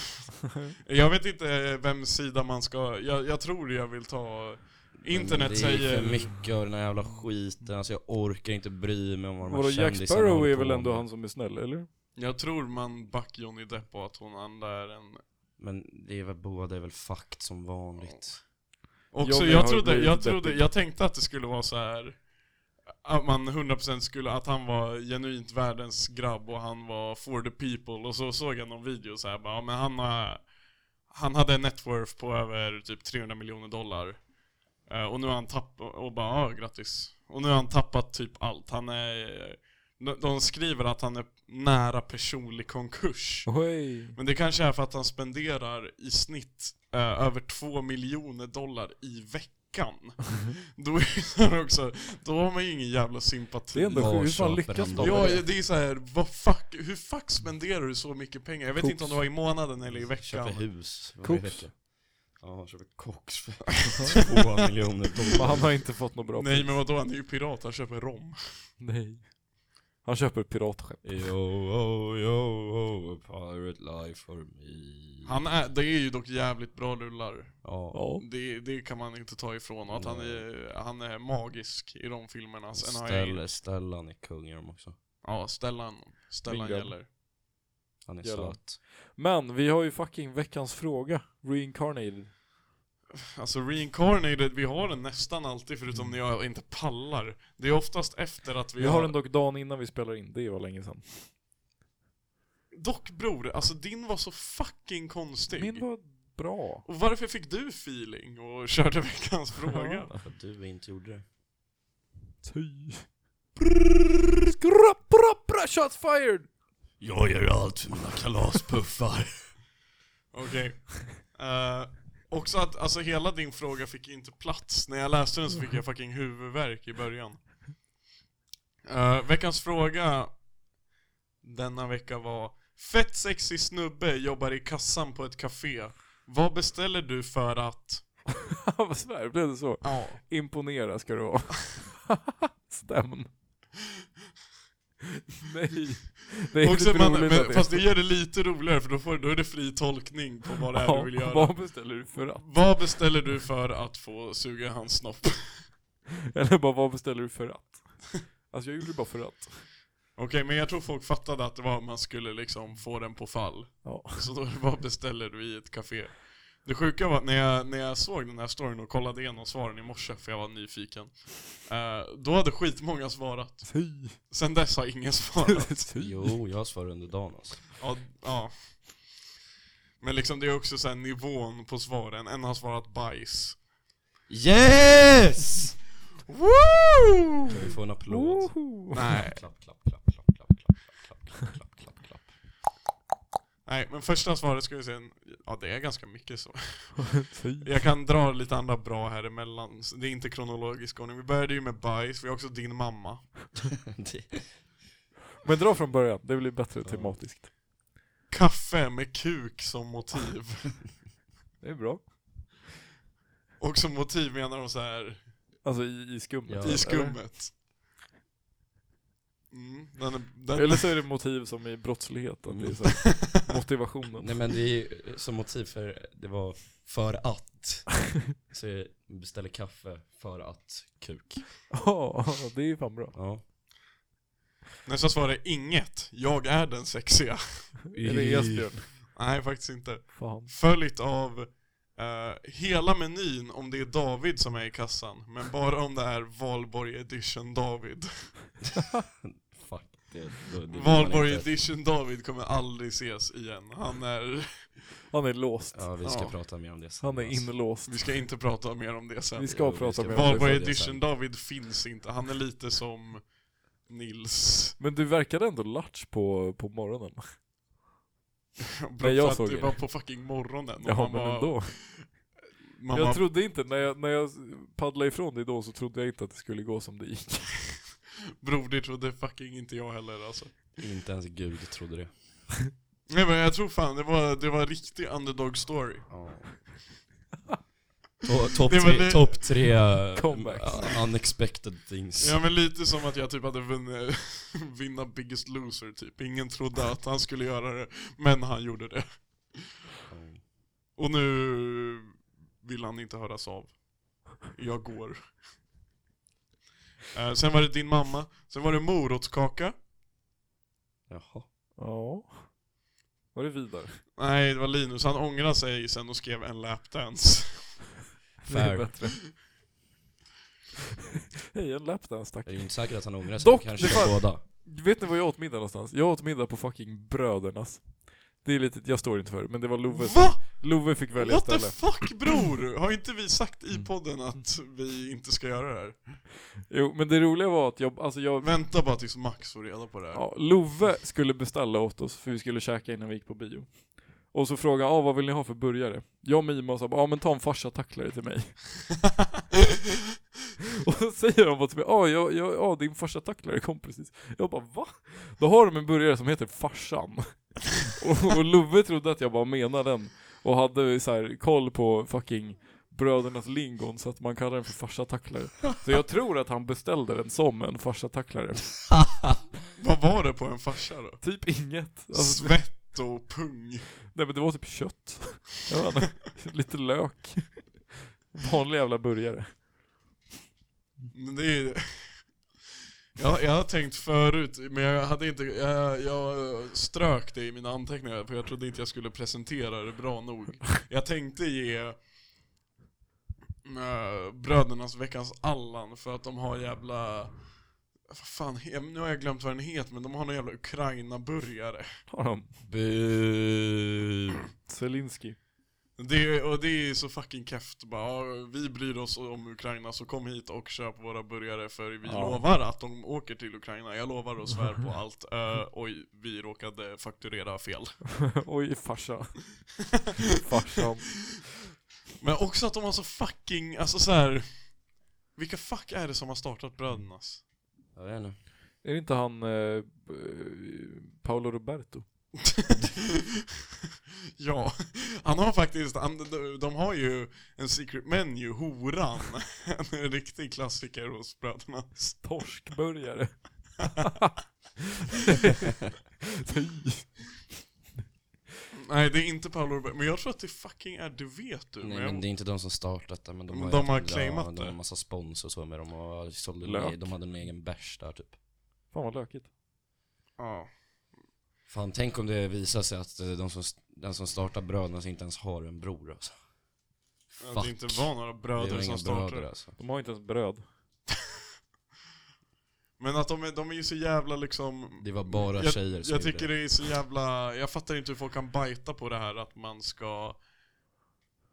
Jag vet inte vem sida man ska... Jag, jag tror jag vill ta... Internet Det är för säger... mycket av den här jävla skiten, alltså jag orkar inte bry mig om vad de här Vadå, Jack kändisarna Sparrow håller är på väl med. ändå han som är snäll, eller? Jag tror man back Johnny Depp på att hon andra är en... Men det är väl båda är väl fakt som vanligt. Också, Johnny jag har trodde, blivit jag trodde, deppig. jag tänkte att det skulle vara så här att man 100% skulle, att han var genuint världens grabb och han var for the people och så såg jag någon video så här bara, ja, men han har, han hade en net worth på över typ 300 miljoner dollar. Eh, Och nu har han tappat, och bara ja, grattis. Och nu har han tappat typ allt. Han är, de- de skriver att han är nära personlig konkurs. Oj. Men det kanske är för att han spenderar i snitt eh, över 2 miljoner dollar i veckan. då, är han också, då har man ju ingen jävla sympati. Det är ändå Var sjukt. Hur köper fan lyckas han de? dem? Ja, med det? det är så här, vad fuck, hur fuck spenderar du så mycket pengar? Jag vet Koks. inte om det var i månaden eller i Köper veckan. hus. varje Koks. vecka. Ja, han köper koks för två miljoner Men dollar. han har inte fått något bra Nej pris. men vadå, han är ju pirat, han köper rom. Nej. Han köper ett piratskepp. Yo, oh, yo, oh, a pirate life for me. Han är, det är ju dock jävligt bra lullar. Ja. Ja. Det, det kan man inte ta ifrån. Och att han är, han är magisk i de filmerna. Sen Alltså, har jag, Ställ, Stellan är kung i dem också. ja, Stellan, Stellan Bingo. gäller. Han är Jävlar. söt. Men vi har ju fucking veckans fråga. Reincarnated. Alltså reincarnated, vi har den nästan alltid förutom när jag inte pallar. Det är oftast efter att vi, Vi har den dock dagen innan vi spelar in. Det var länge sedan. Dock bror, alltså din var så fucking konstig. Min var bra. Och varför fick du feeling och körde veckans fråga? Varför att du inte gjorde det? Ty. Brrrr, skrra, bra, bra, Shots fired! Jag gör allt för mina kalaspuffar. Okej. Eh, också att alltså, hela din fråga fick inte plats. När jag läste den så fick jag fucking huvudvärk i början. Eh, veckans fråga denna vecka var Fett sexig snubbe jobbar i kassan på ett café. Vad beställer du för att... Vad svär, blev det så? Ja. Imponera ska det vara. Stämn. Nej. Det är Också lite man, roligt att men, fast det gör det lite roligare för då, får, då är det fri tolkning på vad det är Ja, du vill göra. Vad beställer du för att? Vad beställer du för att få suga hans snopp? Eller bara vad beställer du för att? Alltså jag gjorde det bara för att. Okej, men jag tror folk fattade att det var man skulle liksom få den på fall. Ja. Så då vad beställer du i ett café? Det sjuka var att när jag, när jag såg den här storyn och kollade igenom svaren i morse för jag var nyfiken. eh, då hade skitmånga svarat. Ty. Sen dess har ingen svarat. Ty. Jo, jag svarar under dagen alltså. ja, ja. Men liksom det är också så här nivån på svaren. En har svarat bajs. Yes! Woo! Kan vi få en applåd? Woho! Nej. Klapp, klapp, klapp, klapp, klapp, klapp, klapp, klapp, klapp, klapp, klapp. Nej, men första svaret ska vi se. Ja, det är ganska mycket så. Ty. Jag kan dra lite andra bra här emellan. Så Det är inte kronologisk ordning. Vi började ju med bajs, vi har också din mamma. Det- Men dra från början, det blir bättre tematiskt. Kaffe med kuk som motiv. Det är bra. Och som motiv menar de så här Alltså i, i skummet. Ja. i eller? skummet. Mm, den är, den, Eller så är det motiv som i brottslighet, att det är så här, motivationen. Nej men det är ju eh, som motiv för, det var för att. Så jag beställer kaffe för att kuk. Ja, det är ju fan bra. Ja. nästa svar är inget. Jag är den sexiga. Eller Esbjörn. Nej, faktiskt inte. Fan. Följt av eh, hela menyn om det är David som är i kassan, men bara om det är Valborg edition David. Fuck. Det, då, Mm, det vill man Valborg inte. edition David kommer aldrig ses igen. Han är... Han är låst. Ja vi ska Ja. prata mer om det sen. Han är alltså. inlåst. Vi ska inte prata mer om det sen. Vi ska Jo, prata mer om det. Valborg det sen. edition David finns inte. Han är lite som Nils. Men du verkade ändå latch på, på morgonen. Bara jag för att såg det det. var på fucking morgonen. och Ja, man men var- ändå. man jag var- trodde inte, när jag, när jag paddlade ifrån dig då så trodde jag inte att det skulle gå som det gick. Bror, det trodde fucking inte jag heller alltså. Inte ens Gud trodde det. Nej men jag tror fan, det var, det var en riktig underdog story. Ja. To- Topp Det var tre, det- top tre uh, Comebacks. uh, unexpected things. Ja men lite som att jag typ hade vunnit, vinna Biggest Loser typ. Ingen trodde att han skulle göra det, men han gjorde det. Och nu vill han inte höras av. Jag går. Eh, sen var det din mamma, sen var det morotskaka. Jaha. Ja. Var det vidare? Nej, det var Linus. Han ångrade sig sen och skrev en lapdance. Det är Fair. bättre. Hej, en lapdance tack. Jag är ju inte säker att han ångrar sig, Dock, Dock, kanske det var- båda. Vet ni vad jag åt middag någonstans? Jag åt middag på fucking Brödernas. Det är lite, jag står inte för det, men det var Love som- Va? Love fick välja What the ställe. Mm. fuck bror? Har inte vi sagt i podden att vi inte ska göra det här? Jo, men det roliga var att jag, alltså jag, Vänta bara tills Max får reda på det här. ja, Love skulle beställa åt oss för vi skulle käka innan vi gick på bio. Och så frågade han, ah, vad vill ni ha för burgare? Jag och Mima sa, ja ah, men ta en farsa tacklare till mig. Och så säger de bara till mig, ja ah, jag, jag, ah, din farsa tacklare kom precis. Jag bara, va? Då har de en burgare som heter farsan. och, och Love trodde att jag bara menade den. Och hade så här koll på fucking brödernas lingon så att man kallar den för farsa tacklare. Så jag tror att han beställde den som en farsa tacklare. Vad var det på en farsa då? Typ inget. Alltså, Svett och pung. nej men det var typ kött. Jag vet inte. Lite lök. Vanlig jävla burgare. Men det är... Jag, jag har tänkt förut, men jag hade inte... Jag, jag strök det i mina anteckningar för jag trodde inte jag skulle presentera det bra nog. Jag tänkte ge eh, Brödernas Veckans Allan för att de har jävla... Vad fan, he- nu har jag glömt vad den heter, men de har någon jävla Ukraina-burgare. Har han. Bu. Zelinski. Det, är- och det är så fucking keft bara, ja, vi bryr oss om Ukraina så kom hit och köp våra burgare för vi Ja. lovar att de åker till Ukraina, jag lovar och svär på allt. Uh, oj, vi råkade fakturera fel. Oj farsa. Farsan. Men också att de har så fucking, alltså så här. vilka fuck är det som har startat Brödernas? Jag vet inte. Är det inte han eh, b- Paolo Roberto? ja, han har faktiskt, han, de, de har ju en secret menu, horan, en riktig klassiker hos Brödernas. Torskburgare. Nej, det är inte Paolo Roberto, men jag tror att det fucking är Du vet du. Nej men jag- men det är inte de som startat det men de Men har, de har ja, claimat De har det. en massa spons och så med dem och sålde Lök. en, e- de hade en egen bärs där typ. Fan vad lökigt. Ja. Fan tänk om det visar sig att eh, de som, den som startar bröderna inte ens har en bror alltså. Att Fuck. det inte var några det bröder var inga som startade. bröder alltså. De har inte ens bröd. Men att de är, de är ju så jävla liksom... Det var bara jag, tjejer som Jag gjorde tycker det är så jävla... Jag fattar inte hur folk kan bajta på det här att man ska...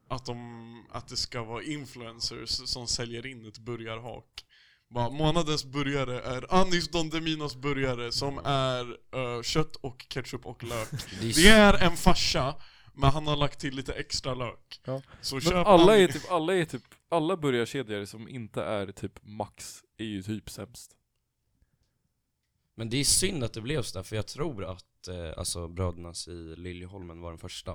Att, de, att det ska vara influencers som säljer in ett burgarhak. Bara, månadens burgare är Anis Don Deminos burgare som är eh, kött och ketchup och lök. det, Det är... är en farsa, men han har lagt till lite extra lök. Ja. Så Men köp alla Anis- är typ, alla är typ, alla burgarkedjor som inte är typ Max är ju typ sämst. Men det är synd att det blev sådär för jag tror att eh, alltså, brödernas i Liljeholmen var den första.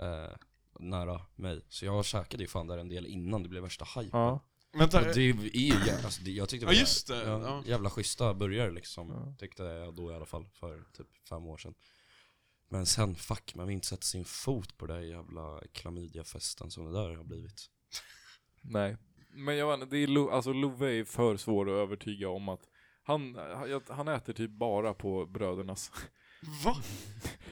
Eh, nära mig. Så jag käkade ju fan där en del innan det blev värsta hypen. Ja. Vänta, Och det är ju, jä- alltså, det, jag tyckte ja var- just det. Ja, Ja. jävla schyssta burgare liksom, Ja. tyckte jag då i alla fall, för typ fem år sedan. Men sen, fuck, man vill inte sätta sin fot på den där jävla klamydiafesten som det där har blivit. Nej. Men jag vet inte, det är Lo- alltså Love är för svår att övertyga om att han, han äter typ bara på brödernas. Va?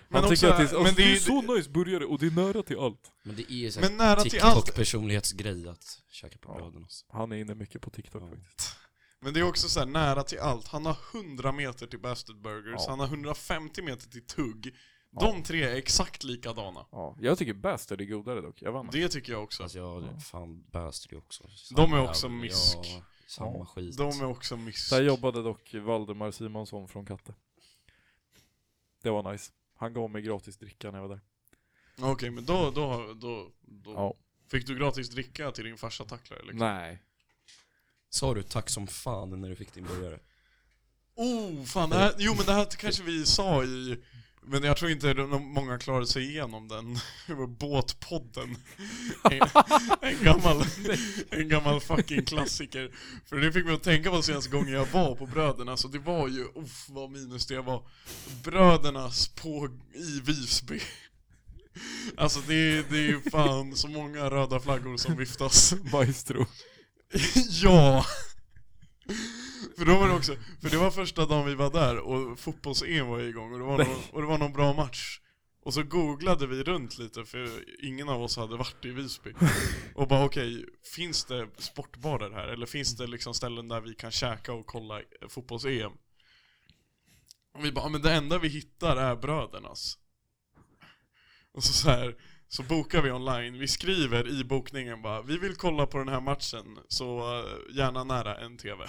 Men, han också- tycker att det, är- alltså, men det är ju- så nice burgare och det är nära till allt. Men det är ju Men nära till allt. TikTok-personlighetsgrej att käka på Ja. bröden alltså. Han är inne mycket på TikTok Ja. faktiskt. Men det är också så här nära till allt. Han har 100 meter till Bastard Burgers, Ja. han har 150 meter till Tugg. Ja. De tre är exakt likadana. Ja, jag tycker Bastard är godare dock. Jag vann. Det tycker jag också. Alltså jag, Ja. fan Bastard är också De är också jävla- mysk. Ja, samma Ja. skit. De är också mysk. Där jobbade dock Valdemar Simonsson från Katte. Det var nice. Han gav mig gratis dricka när jag var där. Okej, men då, då, då, då. Ja. Fick du gratis dricka till din farsa tacklare liksom? Nej. Sa du tack som fan när du fick din burgare? Oh, fan det här, jo men det här kanske vi sa i, men jag tror inte de- många klarade sig igenom den, Det var båtpodden. En, en, gammal, en gammal fucking klassiker. För det fick mig att tänka på senaste gången jag var på Bröderna, så det var ju, uff vad minus det var, Brödernas på, i Visby. Alltså det, det är ju fan så många röda flaggor som viftas. Maestro. Ja! För då var det också, för det var första dagen vi var där och fotbolls-EM var igång och det var, någon, och det var någon bra match. Och så googlade vi runt lite för ingen av oss hade varit i Visby. Och bara okej, finns det sportbarer här? Eller finns det liksom ställen där vi kan käka och kolla fotbolls-EM? Och vi bara, "Ja, men det enda vi hittar är brödernas. Och så, så här så bokar vi online, vi skriver i bokningen bara Vi vill kolla på den här matchen, så eh, gärna nära en TV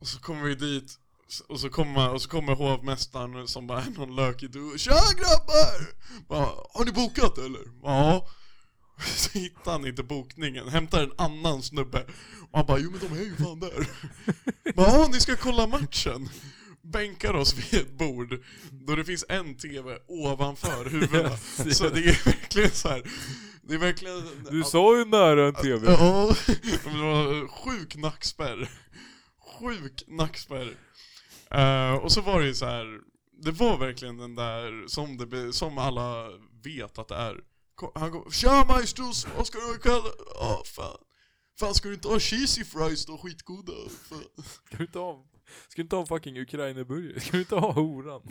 Och så kommer vi dit och så kommer, och så kommer hovmästaren som bara är någon lökig du Tja grabbar! Bara, Har ni bokat eller? Ja Så hittar han inte bokningen, hämtar en annan snubbe Och han bara jo men de är ju fan där Bara ja ni ska kolla matchen Bänkar oss vid ett bord Då det finns en TV ovanför huvudena Så det är verkligen så här. Det är verkligen Du sa ju nära en TV. Alltså, Ja, men det var sjuk nackspärr. Sjuk nackspärr. Eh, och så var det ju så här. det var verkligen den där som, det, be- som alla vet att det är. Ko- Han går ”Tja maestros, vad ska du kalla Ja, fan. Fan ska du inte ha cheesy fries då, skitgoda? Fan. Ska du inte ha, ska du inte ha fucking Ukraina-burgare? Ska du inte ha horan?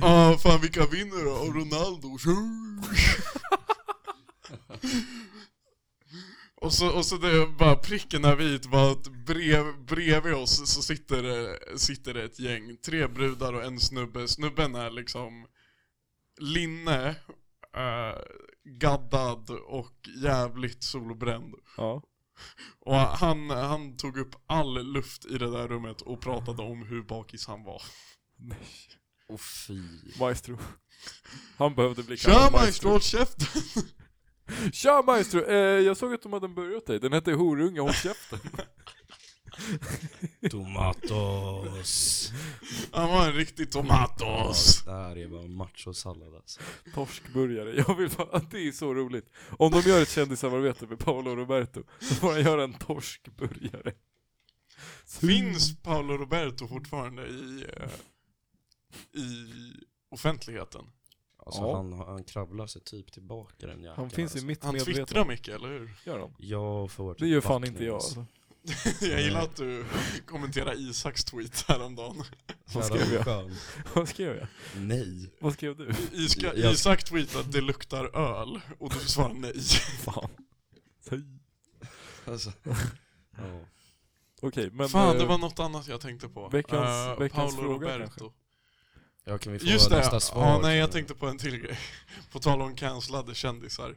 Ja, fan vilka vinner då? Och Ronaldo. och så, och så det är bara pricken här vit var att brev, bredvid oss så sitter det, sitter det ett gäng, tre brudar och en snubbe. Snubben är liksom linne, eh, gaddad och jävligt solbränd. Ja. Och han, han tog upp all luft i det där rummet och pratade om hur bakis han var. Nej. Åh fy. Maestro. Han behövde bli Tja kallad maestro, håll käften! Tja maestro! Eh, jag såg att de hade en burgare åt dig. Den hette horunge, håll käften. Tomatos. Han var en riktig tomatos. Det här är bara machosallad alltså. Torskburgare. Jag vill bara, det är så roligt. Om de gör ett kändissamarbete med Paolo Roberto så får han göra en torskburgare. Finns Paolo Roberto fortfarande i, eh, i offentligheten? Alltså Ja. han, han kravlar sig typ tillbaka den jäkeln. Han finns i alltså. mitt Han medvetande. twittrar mycket, eller hur? Gör han. Jag får Det gör fan inte jag alltså. Jag gillar att du kommenterar Isaks tweet häromdagen. Vad ska jag göra? skön. Vad skrev jag? Nej. Vad skrev du? Iska, Jag- Isak tweetade att det luktar öl, och du svarar nej. Fan. Säg. Alltså. Ja. Okej, men... Fan, det eh, var något annat jag tänkte på. veckans- Eh, veckans Paolo fråga Roberto. ja, kan vi få Just det, nästa svar? ja, nej jag tänkte på en till grej. På tal om cancellade kändisar.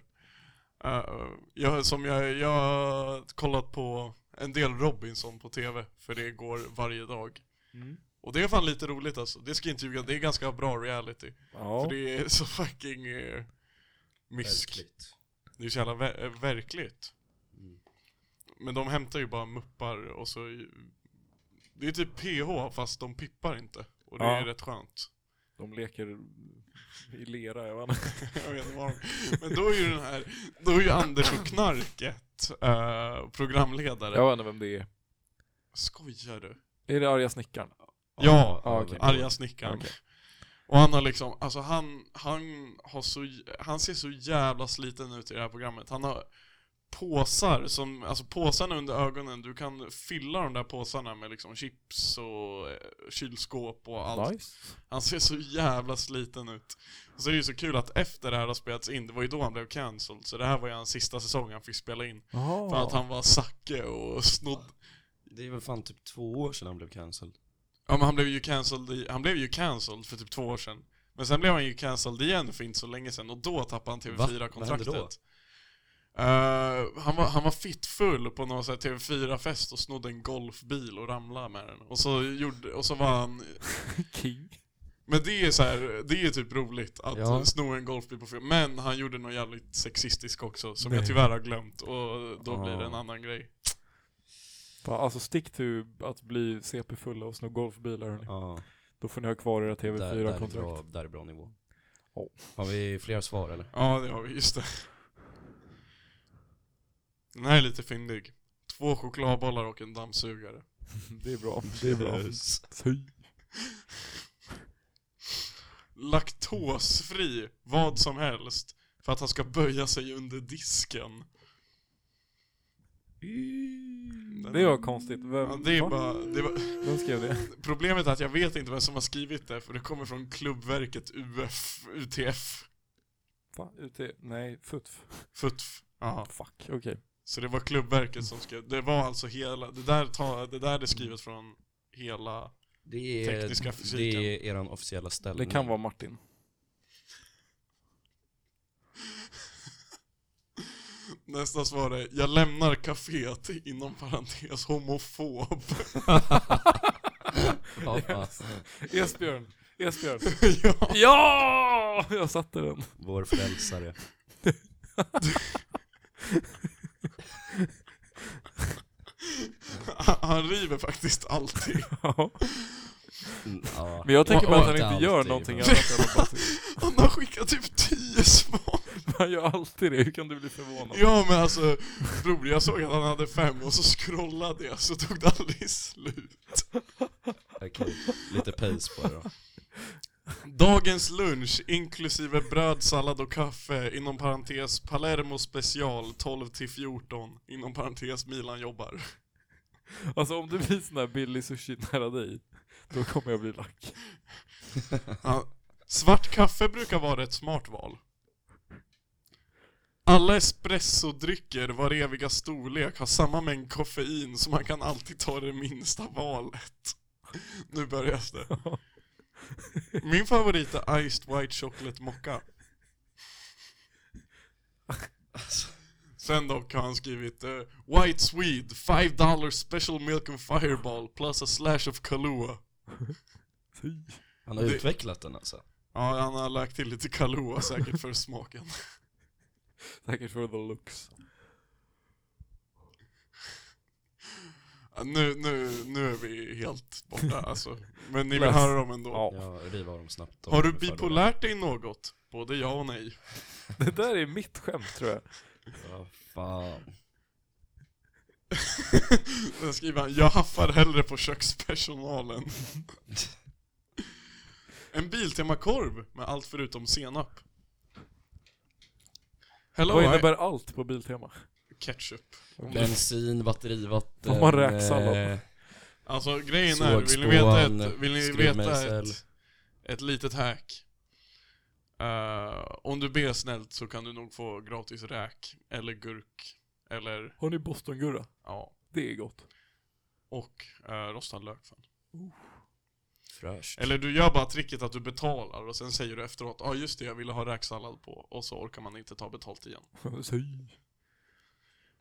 Eh, jag, som jag, jag har kollat på en del Robinson på TV, för det går varje dag. Mm. Och det är fan lite roligt alltså, det ska jag inte ljuga, det är ganska bra reality. Ja. För det är så fucking uh, mysk. Verkligt. Det är så jävla ver- eh, verkligt. Mm. Men de hämtar ju bara muppar och så... Det är typ PH fast de pippar inte. Och det Ja. är rätt skönt. De leker I lera, jag vet inte. Jag vet inte vad de... Men då är ju den här, då är ju Anders och Knarket eh, programledare. Jag vet inte vem det är. Skojar du? Är det arga snickaren? Ja, ja, okej. Arga snickaren. Okej. Och han har liksom, alltså han, han har så, han ser så jävla sliten ut i det här programmet. Han har påsar som, alltså påsarna under ögonen, du kan fylla de där påsarna med liksom chips och eh, kylskåp och allt. Nice. Han ser så jävla sliten ut. Och så är det ju så kul att efter det här har spelats in, det var ju då han blev cancelled, så det här var ju hans sista säsong han fick spela in. För att han var sacke och snodd. Det är väl fan typ två år sedan han blev cancelled. Ja men han blev ju cancelled, i, han blev ju cancelled för typ två år sedan. Men sen blev han ju cancelled igen för inte så länge sedan och då tappade Va? han Vad hände TV4-kontraktet. då? Eh, han, var, han var fittfull på någon sån här TV4-fest och snodde en golfbil och ramlade med den. Och så, gjorde, och så var han King. Men det är så här, det är typ roligt att Ja. sno en golfbil på film. Men han gjorde något jävligt sexistisk också som jag Nej. tyvärr har glömt och då Ja. blir det en annan grej. Fan, alltså stick till att bli CP-fulla och sno golfbilar hörni. Ja, Då får ni ha kvar era där, där, är TV4-kontrakt. bra, där är bra nivå. Ja. Har vi fler svar eller? Ja, det har vi. Just det. Den här är lite fyndig. Två chokladbollar och en dammsugare. Det är bra. Det är bra. Fy. Laktosfri, vad som helst, för att han ska böja sig under disken. Det var konstigt. Vem, Ja, det är va? bara, det var, Vem skrev det? Problemet är att jag vet inte vem som har skrivit det, för det kommer från klubbverket UF, UTF, Va? Ute? Nej, FUTF. FUTF. Ja. Fuck, okej. Så det var klubbverket som skrev, det var alltså hela, det där, ta, det där är skrivet från hela, Det är, Tekniska det fysiken. är eran officiella Det ställning. kan vara Martin. nästa svar är, jag lämnar kaféet inom parentes homofob. Ja, ja. Esbjörn! Esbjörn! ja. ja! Jag satte den. Vår frälsare. Han river faktiskt alltid. Ja. Mm, ja. Men jag tänker bara att Och- han och- inte gör alltid, någonting men- annat än att bara sitta. Han har skickat typ tio svar. Han gör alltid det, hur kan du bli förvånad? Ja men alltså, bror jag såg att han hade fem och så scrollade jag så tog det aldrig slut. Okej, lite pace på det då. Dagens lunch inklusive bröd, sallad och kaffe inom parentes Palermo special 12 till 14 inom parentes Milan jobbar. Alltså om det blir sån här billig sushi nära dig, då kommer jag bli lack. Ja. Svart kaffe brukar vara ett smart val. Alla espressodrycker var eviga storlek har samma mängd koffein så man kan alltid ta det minsta valet. Nu börjar det. Min favorit är Iced White Chocolate Mocca. Sen dock har han skrivit eh, White Swede, $5 special milk and fireball plus a slash of Kahlua. Fy. Han har Det- utvecklat den alltså. Ja, han har lagt till lite Kahlua säkert för smaken. Säkert för the looks. Ja, Nu, nu, nu är vi helt borta alltså. Men ni vill Läs. höra dem ändå. Ja. Ja, riva av dem snabbt. då. Har du För då- bipolärt dig något? Både ja och nej. Det där är mitt skämt tror jag. Ja, fan. Sen skriver han, jag haffar hellre på kökspersonalen. En Biltema-korv med allt förutom senap. Hello, Vad I- innebär allt på Biltema? ketchup. Bensin, batterivatten, De har räksallad. eh, Alltså grejen är, vill ni veta Sågspån, ett, vill ni veta skruvmejsel. ett, ett litet hack? Eh, om du ber snällt så kan du nog få gratis räk, eller gurk, eller Har ni bostongurra? ja, Det är gott. och eh, rostad lök. Fan. fräscht. Eller du gör bara tricket att du betalar och sen säger du efteråt ja ah, just det jag ville ha räksallad på och så orkar man inte ta betalt igen. Fy.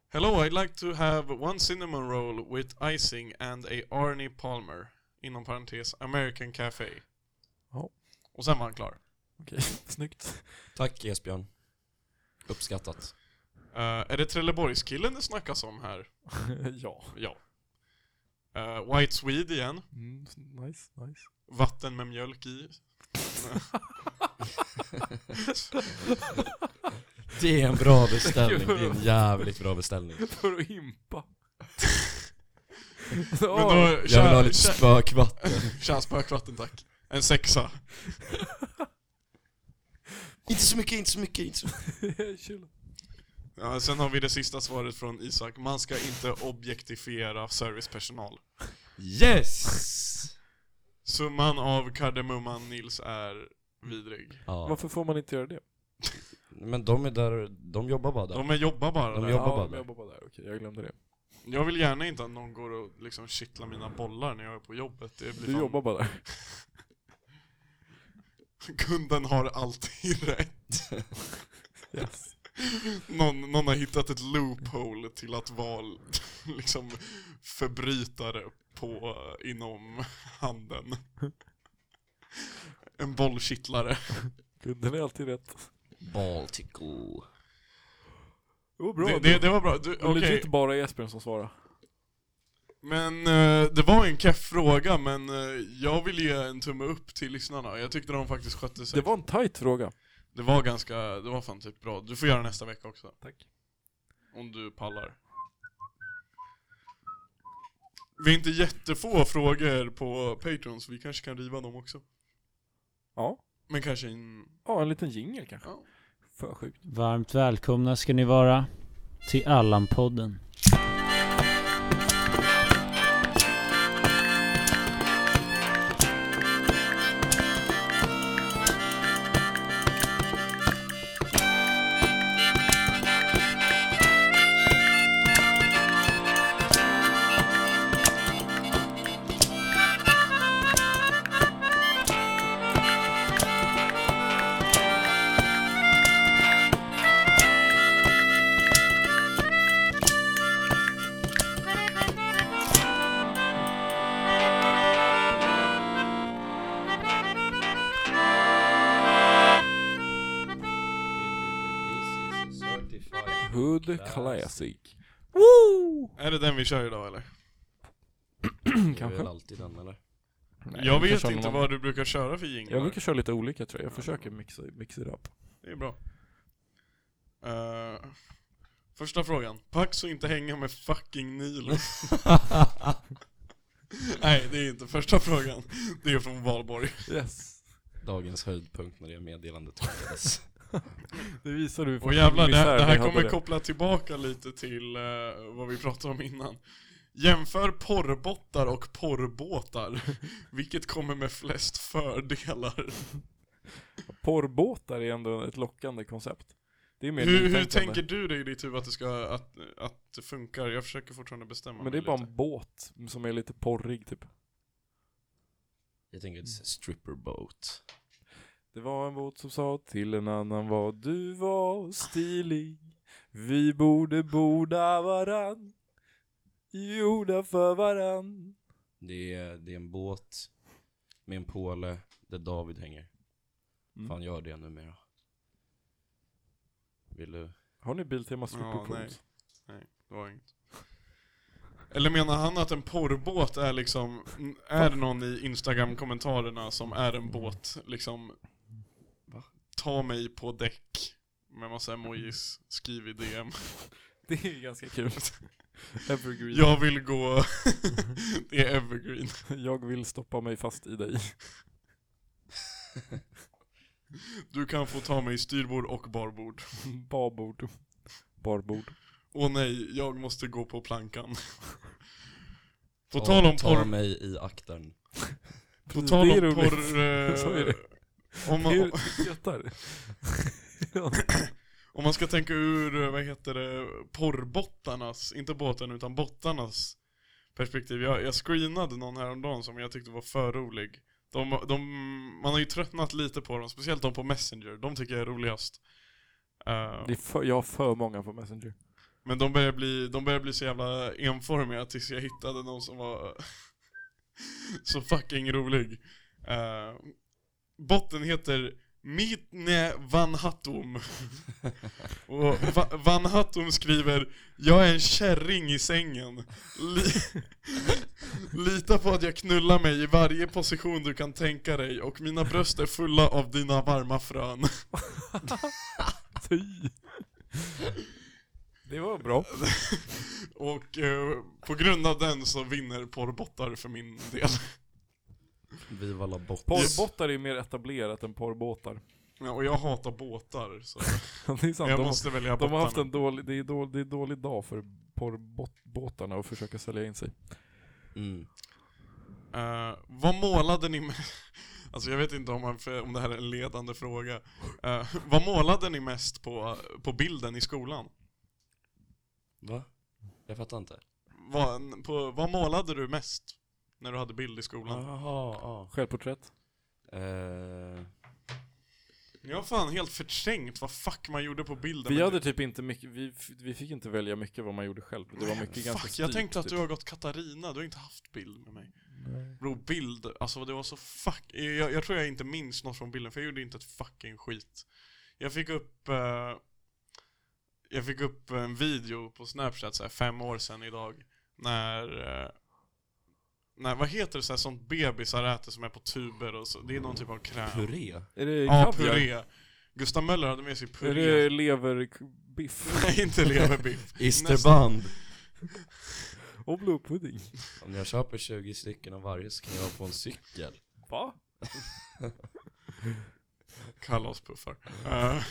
Hello, I'd like to have one cinnamon roll with icing and a Arnie Palmer. Inom parentes, American Café. Ja. Och sen var han klar. Okej, snyggt. Tack Esbjörn. Uppskattat. Eh, är det Trelleborgskillen det snackas om här? ja. Ja. Eh, White Swede igen. Mm, nice, nice. Vatten med mjölk i. Det är en bra beställning, det är en jävligt bra beställning. För att impa. Men Ja, då, Jag vill ha kör, lite kör, spökvatten. kör spökvatten tack. En sexa. Inte så mycket, inte så mycket, inte så mycket. chill. Ja, sen har vi det sista svaret från Isak. Man ska inte objektifiera servicepersonal. Yes! Summan av kardemumman Nils är vidrig. Ja. Varför får man inte göra det? Men de är där, de jobbar bara där. De är- jobbar bara De där. Jag jobbar ja, bara men där. jag jobbar bara där. Okej, jag glömde det. Jag vill gärna inte att någon går och liksom kittlar mina bollar när jag är på jobbet. Det blir Du fan... jobbar bara där. Kunden har alltid rätt. Yes. Någon, någon har hittat ett loophole till att vara liksom förbrytare på, eh, inom handeln. En bollkittlare. Kunden är alltid rätt. Baltico. Det var bra. det, det, det var bra. Du, Det var okej. legit bara Esbjörn som svarade. Men eh, det var en keff fråga, men eh, jag vill ge en tumme upp till lyssnarna. Jag tyckte de faktiskt skötte sig. Det var en tight fråga. det var ganska, det var fan typ bra. Du får göra nästa vecka också. Tack. Om du pallar. Vi är inte jättefå frågor på Patreon, så vi kanske kan riva dem också. Ja. Men kanske en... Ja, en liten jingel kanske. Ja. För sjukt. Varmt välkomna ska ni vara till Allan-podden. This is a certified Hood Classic. Classic. Är det den vi kör idag eller? Det är Mm, Kanske. väl alltid den eller? Nej, jag vi kan vet köra inte någon annan. vad du brukar köra för jinglar. Jag brukar köra lite olika tror jag. Jag försöker mixa, mixa det upp. Det är bra. Eh, första frågan. Pax och inte hänga med fucking Nilo. Nej, det är inte första frågan. Det är från Valborg. Yes. Dagens höjdpunkt när det meddelandet skickades. Det visar du hur Och jävlar, det, här- misär det här vi hade kommer det. koppla tillbaka lite till eh, vad vi pratade om innan. Jämför porrbottar och porrbåtar. Vilket kommer med flest fördelar? Porrbåtar är ändå ett lockande koncept. Det är mer Hur, hur nytänkande. tänker du dig i ditt huvud att det, ska, att, att det funkar? Jag försöker fortfarande bestämma Men det mig är bara lite. en båt som är lite porrig typ. Jag tänker it's a stripper boat. Det var en båt som sa till en annan vad du var stilig. Vi borde borda varann. Gjorda för varann. Det är, det är en båt med en påle där David hänger. Mm. Fan gör det numera. Vill du? Har ni Biltema Ja, nej. Superpools? Nej, det var inget. Eller menar han att en porrbåt är liksom, är det någon i Instagram-kommentarerna som är en båt, liksom Ta mig på däck med massa emojis, skriv i DM. det är ganska kul. Evergreen. Jag vill gå, det är evergreen. Jag vill stoppa mig fast i dig. Du kan få ta mig styrbord och barbord. Babord. Barbord. Åh nej, jag måste gå på plankan. På Ta- tal om Ta porr... mig i aktern. På Precis, tal det är om roligt. porr... eh, Så är det. Om Det är man, det skrattar. Om man ska tänka ur, eh, vad heter det, porrbottarnas, inte båten utan bottarnas perspektiv. Jag, jag screenade någon häromdagen som jag tyckte var för rolig. De, de, man har ju tröttnat lite på dem, speciellt de på Messenger. De tycker jag är roligast. Eh, Det är för, jag har för många på Messenger. men de börjar, bli, de börjar bli så jävla enformiga tills jag hittade någon som var så fucking rolig. Eh, botten heter Mitne Van Hattum. Och Va Van Hattum skriver Jag är en kärring i sängen. Li- Lita på att jag knullar mig i varje position du kan tänka dig och mina bröst är fulla av dina varma frön. Det var bra. Och eh, på grund av den så vinner porrbottar för min del. Viva la bot. Porrbåtar är mer etablerat än porrbåtar. Ja, och jag hatar båtar så Det är sant. jag De, måste välja de har haft båtarna. en dålig, det är dålig, det är dålig dag för porrbåtarna att försöka sälja in sig. Mm. Eh, vad målade ni med... Alltså jag vet inte om, man, om det här är en ledande fråga. Eh, vad målade ni mest på, på bilden i skolan? Va? Jag fattar inte. Vad, på, vad målade du mest när du hade bild i skolan? Jaha, ja. Självporträtt. Eh, Jag har fan helt förträngt vad fuck man gjorde på bilden. Vi Men hade typ inte mycket, vi, f- vi fick inte välja mycket vad man gjorde själv. Det var mycket ganska Fuck, jag styrt, tänkte att du typ. har gått Katarina, du har inte haft bild med mig. Bro, bild, alltså det var så fuck... Jag, jag tror jag inte minns något från bilden, för jag gjorde inte ett fucking skit. Jag fick upp... eh, jag fick upp en video på Snapchat så här, fem år sedan idag, när... eh, när vad heter det så här, sånt bebisar äter som är på tuber och så? Det är någon typ av kräm. puré? Är det Ja, kaviar? puré. Gustav Möller hade med sig Är puré. det leverbiff? Nej, inte leverbiff. Isterband! Och blodpudding? Om jag köper 20 stycken av varje så kan jag ha på en cykel. Va? Kalla oss puffar. Eh,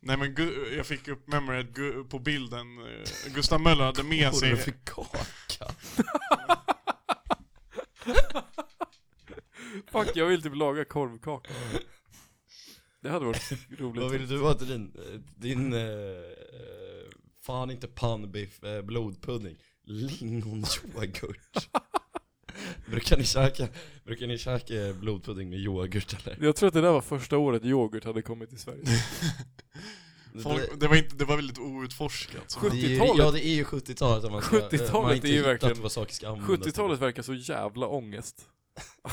nej men gu- jag fick upp memoryet gu- på bilden. eh, Gustav Möller hade med Vad är det sig... för kaka? Fuck, jag vill typ laga korvkaka. Det hade varit roligt. typ- Vad vill du ha till din, din eh, fan inte pannbiff, eh, blodpudding, lingonyoghurt? brukar, ni käka, brukar ni käka blodpudding med yoghurt eller? Jag tror att det där var första året yoghurt hade kommit till Sverige. Mm. Folk, det, var inte, det var väldigt outforskat. Så. det, det är ju, 70-talet. ja det är ju 70-talet om man ska, 70-talet man har inte är ju hittat verkligen- vad saker ska användas till. 70-talet verkar så jävla ångest.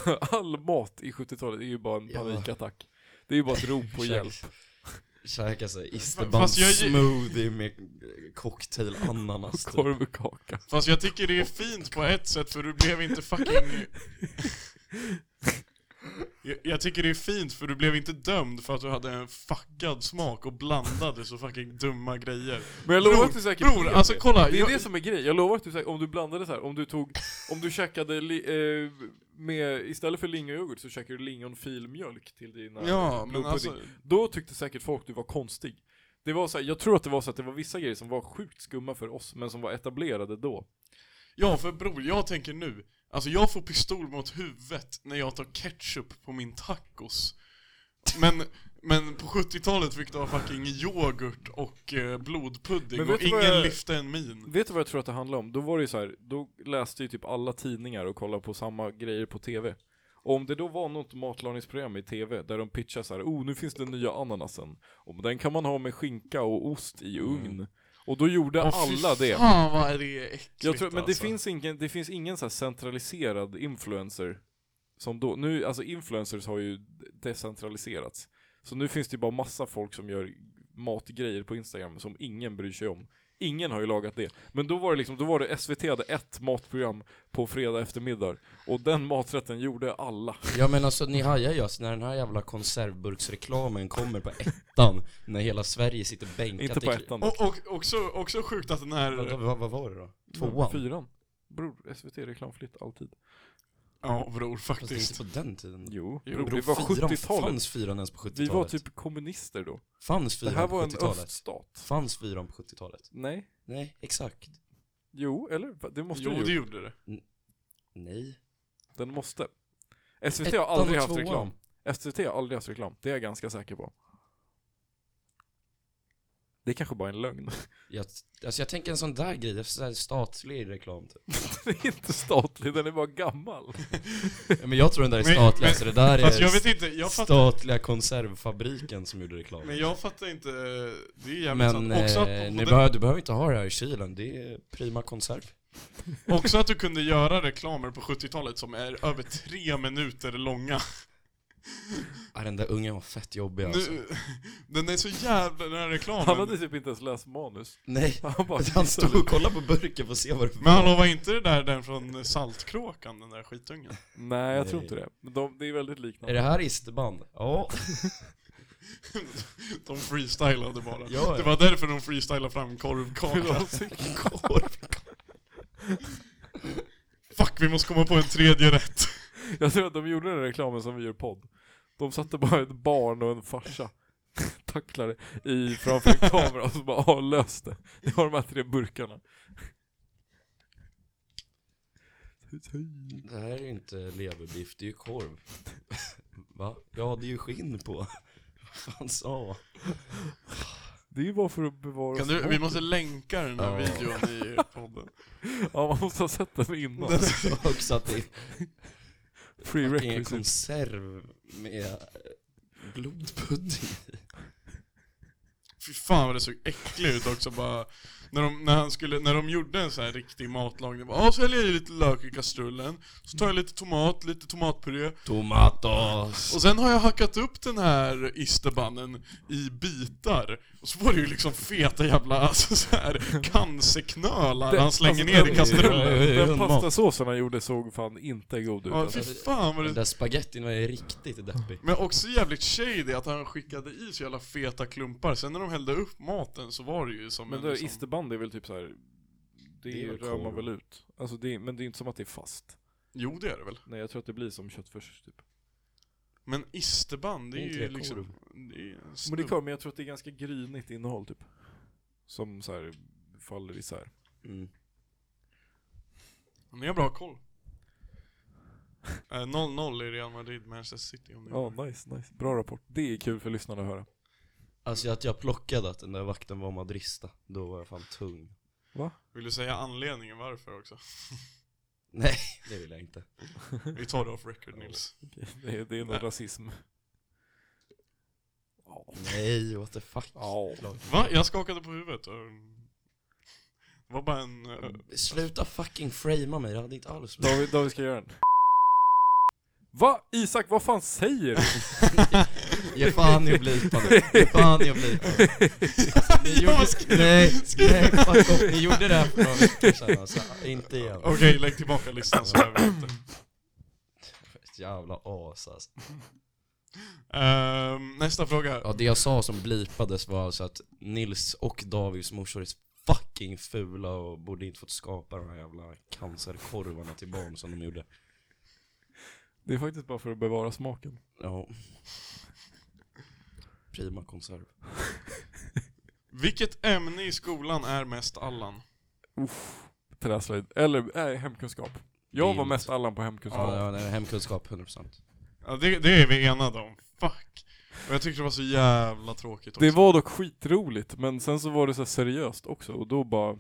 All mat i 70-talet är ju bara en Ja. panikattack. Det är ju bara ett rop på Käk- hjälp. Käka sig Fast jag- isterband-smoothie med cocktail ananas typ. Korvkaka. Fast jag tycker det är fint på ett sätt för du blev inte fucking... Jag- Jag tycker det är fint för du blev inte dömd för att du hade en fuckad smak och blandade så fucking dumma grejer. Men jag lovar att du säkert... bror, alltså kolla. Det är jag, det som är grejen, jag lovar att du säkert, om du blandade så här, om du tog, om du käkade li, eh, med, istället för lingonyoghurt så käkade du lingonfilmjölk till dina ja, men blodpudding. alltså, Då tyckte säkert folk du var konstig. Det var så här, jag tror att det var så att det var vissa grejer som var sjukt skumma för oss, men som var etablerade då. Ja, för bror, jag tänker nu. Alltså jag får pistol mot huvudet när jag tar ketchup på min tacos. Men, men på 70-talet fick det vara fucking yoghurt och eh, blodpudding Men och vet du ingen vad jag- lyfte en min. Vet du vad jag tror att det handlar om? Då var det ju så här, då läste ju typ alla tidningar och kollade på samma grejer på TV. Och om det då var något matlagningsprogram i TV där de pitchade så här, oh nu finns den nya ananasen. Och den kan man ha med skinka och ost i ugn. Och då gjorde Mm. Åh, fy alla det. Fan vad det är äckligt Jag tror, men det alltså. finns ingen, det finns ingen så här centraliserad influencer som då, nu, alltså influencers har ju decentraliserats. Så nu finns det ju bara massa folk som gör matgrejer på Instagram som ingen bryr sig om. Ingen har ju lagat det. Men då var det liksom, då var det SVT hade ett matprogram på fredag eftermiddag och den maträtten gjorde alla. Ja men alltså ni hajar ju alltså när den här jävla konservburksreklamen kommer på ettan när hela Sverige sitter bänkat Inte på i- ettan. Och, och också, också sjukt att den Vänta, här... vad, vad var det då? Tvåan? Fyran. Bror, SVT reklamfritt alltid. Ja bror, Fast det är inte faktiskt. på den tiden. Jo, Jo, bror, Bro, det var fyran- 70-talet. Fanns fyran ens på 70-talet? Vi var typ kommunister då. Fanns Det fyran här var på en 70-talet? öststat. Fanns fyran på 70-talet? Nej. Nej, exakt. Jo, eller? Va? Det måste Jo, du det ju. gjorde det. Nej. Den måste. SVT Ettan har och aldrig haft tvåan. reklam. SVT har aldrig haft reklam. Det är jag ganska säker på. Det är kanske bara en lögn. Jag, alltså jag tänker en sån där grej, det är så här statlig reklam typ. Den är inte statlig, den är bara gammal. Ja, men jag tror den där är Men- statlig, men- alltså det där Fast är jag vet inte, jag fattar... statliga konservfabriken som gjorde reklam. Men jag fattar inte, eh, det är jävligt Men sant. Också att, på, eh, på ni den- behöver, du behöver inte ha det här i kylen, det är prima konserv. också att du kunde göra reklamer på 70-talet som är över tre minuter långa. Nej, den där ungen var fett jobbig alltså. Nu, den är så jävla, den här Han reklamen. hade typ inte ens läst manus. Nej, Han bara han stod och kollade på burken för att se vad det Men var. hallå, var inte det där den från Saltkråkan, den där skitungen? Nej, jag Nej. tror inte det. Men de, det är väldigt Är liknande. det här isterband? Ja. De freestylade bara. Ja, ja. Det var därför de freestylade fram korvkakan. Fuck, vi måste komma på en tredje rätt. Jag tror att de gjorde den reklamen som vi gör podd. De satte bara ett barn och en farsa tacklade i framför en kamera och så bara ah, lös det. Det har de här tre burkarna. Det här är ju inte leverbiff, det är ju korv. Va? Ja, det är ju skinn på. Vad fan sa han? Det är ju bara för att bevara Kan du, vi smaken. måste länka den här Ja. videon i podden. Ja man måste ha sett den innan. Också att det är en Prerequisite. konserv med eh, blodpudding Fy fan vad det såg äckligt ut också bara. När de, när han skulle, när de gjorde en så här riktig matlagning. Bara, "Ja, så häller jag i lite lök i kastrullen. Så tar jag lite tomat, lite tomatpuré. Tomatos! Och sen har jag hackat upp den här isterbannen i bitar. Och så var det ju liksom feta jävla alltså, så här cancerknölar Den- han slänger alltså, ner den- Ja, i ja, kastrullen. ja. är Den hundmat. pastasåsen han gjorde såg fan inte god ut. Ja, Alltså. fy fan vad Den det... där spagettin var ju riktigt deppig. Men också jävligt shady att han skickade i så jävla feta klumpar. Sen när de hällde upp maten så var det ju som Men en... det, liksom- isterband är väl typ så här. Det, Det är väl rör man korv. väl ut. Alltså det, är- men det är inte som att det är fast. Jo det är det väl? Nej jag tror att det blir som köttfärs typ. Men isterband, det Det är är inte ju det liksom... Det är en Men det är snubb. klart, men jag tror att det är ganska grynigt innehåll typ. Som så här faller isär. Mm. Ni har bra koll. Eh, 0-0 i Real Madrid, Manchester City om ni Ja, nice, nice. Bra rapport. Det är kul för lyssnarna att höra. Alltså att jag plockade att den där vakten var madrista, då var jag fan tung. Vill du säga anledningen varför också? Nej, det vill jag inte. Vi tar det off record Nils. Okej, Det, är- det är nog Nej. rasism. Ja. Nej, what the fuck. Ja. Va? Jag skakade på huvudet. och- Det var bara en... eh, Sluta fucking framea mig, det hade inte alls blivit. David, David ska göra den. Va? Isak, vad fan säger du? Ge fan i att blipa nu. Ge fan i att blipa nu. Ni gjorde, nej, nej, fuck off. Ni gjorde det här för några veckor sedan alltså. Inte igen. Okej, lägg tillbaka listan så behöver jag inte. Ett jävla as alltså. Ehm, nästa fråga. Ja, det jag sa som blipades var alltså att Nils och Davids morsor är fucking fula och borde inte fått skapa de här jävla cancerkorvarna till barn som de gjorde. Det är faktiskt bara för att bevara smaken. Ja. Prima konserv. Vilket ämne i skolan är mest Allan? Uff. Träslöjd. Eller nej, hemkunskap. Jag var Bild. mest Allan på hemkunskap. Ja, ja, nej, hemkunskap 100%. Ja, det, det är vi enade om. Fuck. Och jag tyckte det var så jävla tråkigt också. Det var dock skitroligt, men sen så var det så här seriöst också och då bara...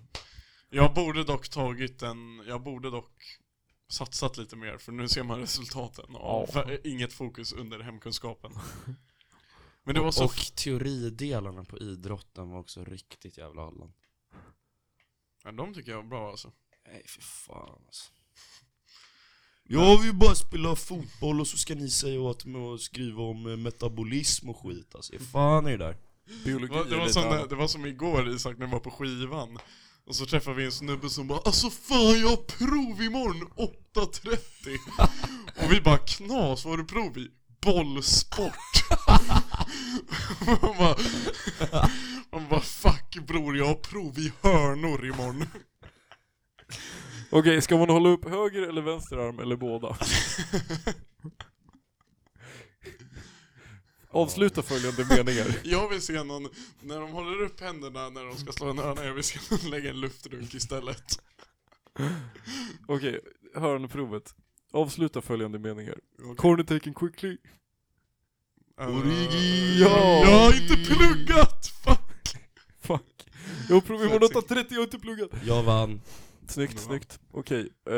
Jag borde dock tagit en... Jag borde dock satsat lite mer, för nu ser man resultaten av Ja. inget fokus under hemkunskapen. Men det var så... Och teoridelarna på idrotten var också riktigt jävla allan. Ja, de tycker jag var bra alltså. Nej för fan alltså. Jag vill bara spela fotboll och så ska ni säga åt mig att skriva om eh, metabolism och skit alltså. Ge fan i det där. Biologi Det var, är det, var lite som, när- annat. det var som igår Isak när vi var på skivan. Och så träffade vi en snubbe som bara 'Alltså fan jag har prov imorgon 8.30' Och vi bara 'Knas, vad har du prov i?' Bollsport! man bara, man bara 'Fuck bror, jag har prov i hörnor imorgon' Okej, ska man hålla upp höger eller vänster arm eller båda? Avsluta följande meningar. Jag vill se någon, när de håller upp händerna när de ska slå en hörna, jag vill se någon lägga en luftdunk istället. Okej, hörnprovet. Avsluta följande meningar. Okay. Corner taken quickly. Origi. Ja. Jag har inte pluggat! Fuck! Fuck. Jag har prov imorgon 8.30, jag typ har inte pluggat. Jag vann. Snyggt, Underbart. snyggt. Okej, ehm,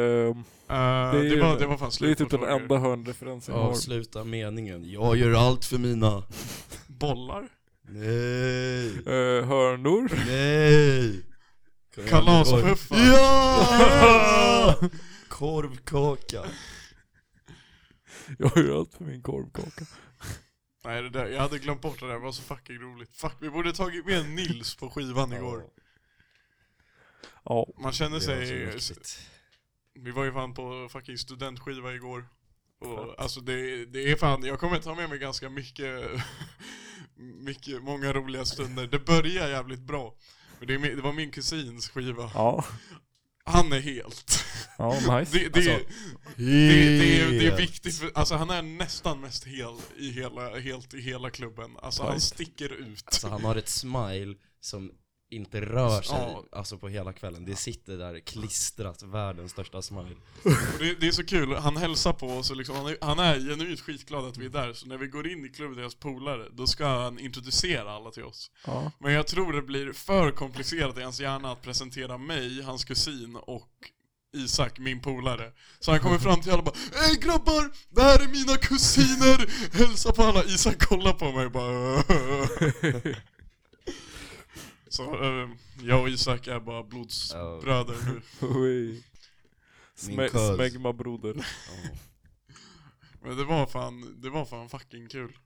Eh, är det, ju- var, det var fan det är slut typ på den frågor. enda hörnreferensen jag har. Avsluta meningen. Jag gör allt för mina. Bollar? Nej. Eh, hörnor. Nej. Kalaspuffar? Ja! Korvkaka. Jag har ju allt för min korvkaka. Nej det där, jag hade glömt bort det där, det var så fucking roligt. Fuck, vi borde tagit med Nils på skivan igår. Ja, Man känner Det var så sig... mäktigt. Vi var ju fan på fucking studentskiva igår. Fett. Och alltså det, det är fan, jag kommer ta med mig ganska mycket, mycket, många roliga stunder. Det börjar jävligt bra. Men det, är, min- det var min kusins skiva. ja, Han är helt. ja nice. Det, det, Alltså, det, det, är, det är viktigt, för, alltså han är nästan mest hel i hela, helt i hela klubben. Alltså han Right. sticker ut. Alltså han har ett smile som inte rör sig Ja. alltså på hela kvällen. Det sitter där klistrat, världens största smile. Och Det, det är så kul, han hälsar på oss och liksom, han, är, han är genuint skitglad att vi är där, så när vi går in i klubben deras polare, då ska han introducera alla till oss. Ja. Men jag tror det blir för komplicerat i hans hjärna att presentera mig, hans kusin och Isak, min polare. Så han kommer fram till alla och bara Hej grabbar! Det här är mina kusiner! Hälsa på alla! Isak kollar på mig och bara "Åh." Så eh, jag och Isak är bara blodsbröder nu. Oj. Sme- cuz. Smegma broder. Men det var fan, det var fan fucking kul.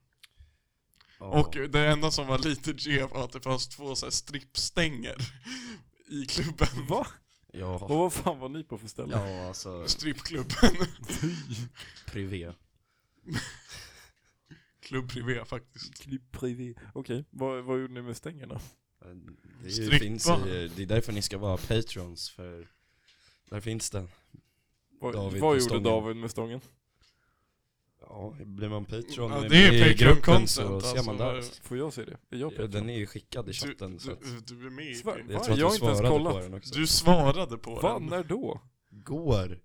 Ja. Och det enda som var lite G var att det fanns två så här strippstänger i klubben. Va? Och ja. vad fan var ni på för ställe? Ja, alltså Strippklubben. privé. Klubb privé faktiskt. Klipp privé. Okej, vad, vad gjorde ni med stängerna? Det, är Strippa. ju, finns ju, det är därför ni ska vara patrons, för där finns det. Vad, David vad med gjorde stången. David med stången? Ja, blir man patron Ja, med det är i Patreon gruppen så content, ser alltså, man där. vad- Får jag se det? Är jag Ja, Patreon? den är ju skickad i Du, chatten så att, du, du är med i Svar- det. jag Va? tror att Jag har du inte ens svarade på kollat. den också. Du svarade på Va? den. När då? Går!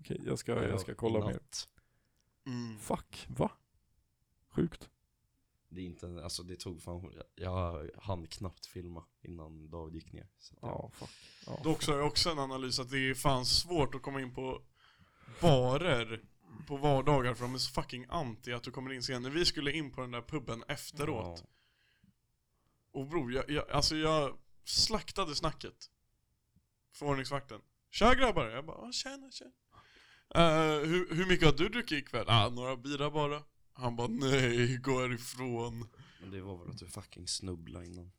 Okej, jag, ska, jag ska kolla mer. Mm. Fuck, va? Sjukt. Det är inte, alltså det tog fan, jag, jag hann knappt filma innan David gick ner. Så att, Ja, fuck. Ja. Dock så har jag också en analys att det är fan svårt att komma in på barer på vardagar för de är så fucking anti att du kommer in sen. När vi skulle in på den där puben efteråt, Och bror, jag, jag, alltså jag slaktade snacket. För ordningsvakten. Tja grabbar! Jag bara, "Ah, tjena tjena. Eh, hur, hur mycket har du druckit ikväll? Ah, några bira bara. Han bara, nej, gå härifrån. Men det var väl att du fucking snubblade innan.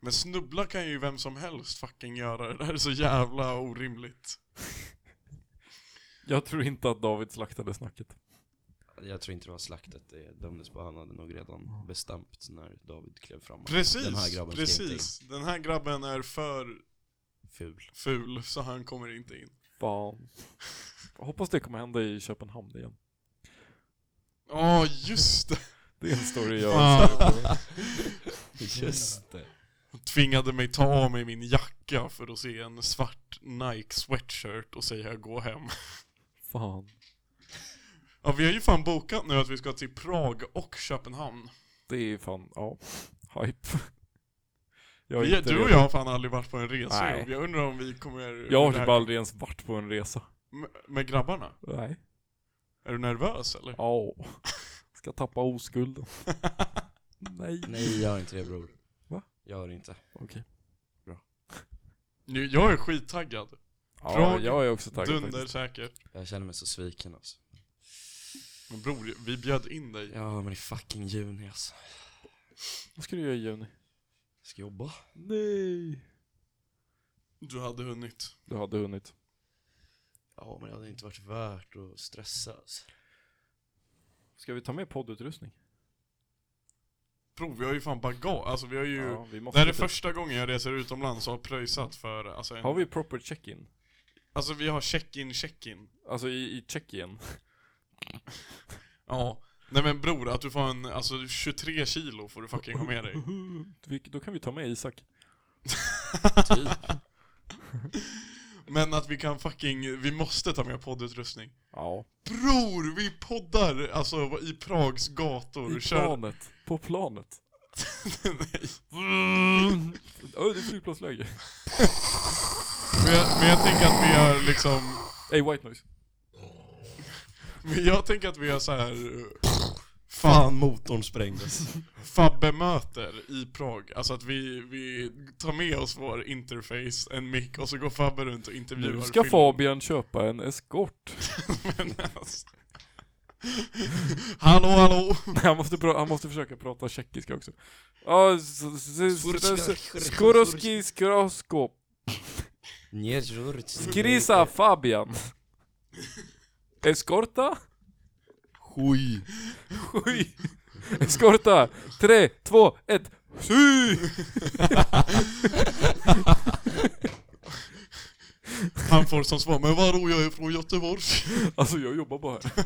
Men snubbla kan ju vem som helst fucking göra. Det där är så jävla orimligt. Jag tror inte att David slaktade snacket. Jag tror inte det var slaktet, det dömdes på, han hade nog redan bestämt när David klev fram. Precis, Den här grabben ska inte precis. Den här grabben är för Ful. ful så han kommer inte in. Fan. Jag hoppas det kommer hända i Köpenhamn igen. Ja, just det. Det är en story jag... Fan. Just det. tvingade mig ta av mig min jacka för att se en svart Nike sweatshirt och säga gå hem. Fan. Ja, vi har ju fan bokat nu att vi ska till Prag och Köpenhamn. Det är fan, ja. Hype. Jag är Vi, inte du och redo. jag har fan aldrig varit på en resa Nej. ihop. Jag undrar om vi kommer... Jag har typ aldrig ens varit på en resa. med, med grabbarna? Nej. Är du nervös eller? Ja. Ska tappa oskulden. Nej. Nej, gör inte det bror. Va? Gör inte. Okej. Nu- Jag är skittaggad. Ja, Prag, jag är också taggad faktiskt. Dundersäker. Jag känner mig så sviken alltså. Men bror, vi bjöd in dig. Ja men i fucking juni alltså. Vad ska du göra i juni? Jag ska jobba. Nej. Du hade hunnit. Du hade hunnit. Ja men det hade inte varit värt att stressa alltså. Ska vi ta med poddutrustning? Bror, vi har ju fan bagage. Alltså vi har ju... vi Det måste här är typ- första gången jag reser utomlands och har pröjsat för alltså, en... Har vi proper check-in? alltså vi har check-in, check-in. Alltså i, i Tjeckien? Ja. Nej men bror, att du får en, alltså 23 kilo får du fucking ha med dig. Vi- Då kan vi ta med Isak. Men att vi kan fucking, vi måste ta med poddutrustning. Ja. Bror, vi poddar alltså i Prags gator. I planet. På planet. Nej. Öh, det är flygplansläge. Men, jag, men jag tänker att vi gör liksom, Ey, white noise. men jag tänker att vi gör så här. eh, Fan, Fan motorn sprängdes. Fabbe-möter i Prag. Alltså att vi, vi tar med oss vår interface, en mick och så går Fabbe runt och intervjuar. Nu ska filmen. Fabian köpa en eskort. Men alltså, Hallå hallå! Han måste, pra- han måste försöka prata tjeckiska också. Ja, s- s- s- s- Skoroski Skrosko Skrisa Fabian. Eskorta? Skoj. Oj. Eskorta! Tre, två, ett. Sy! Han får som svar, men vadå jag är från Göteborg? Alltså jag jobbar bara här.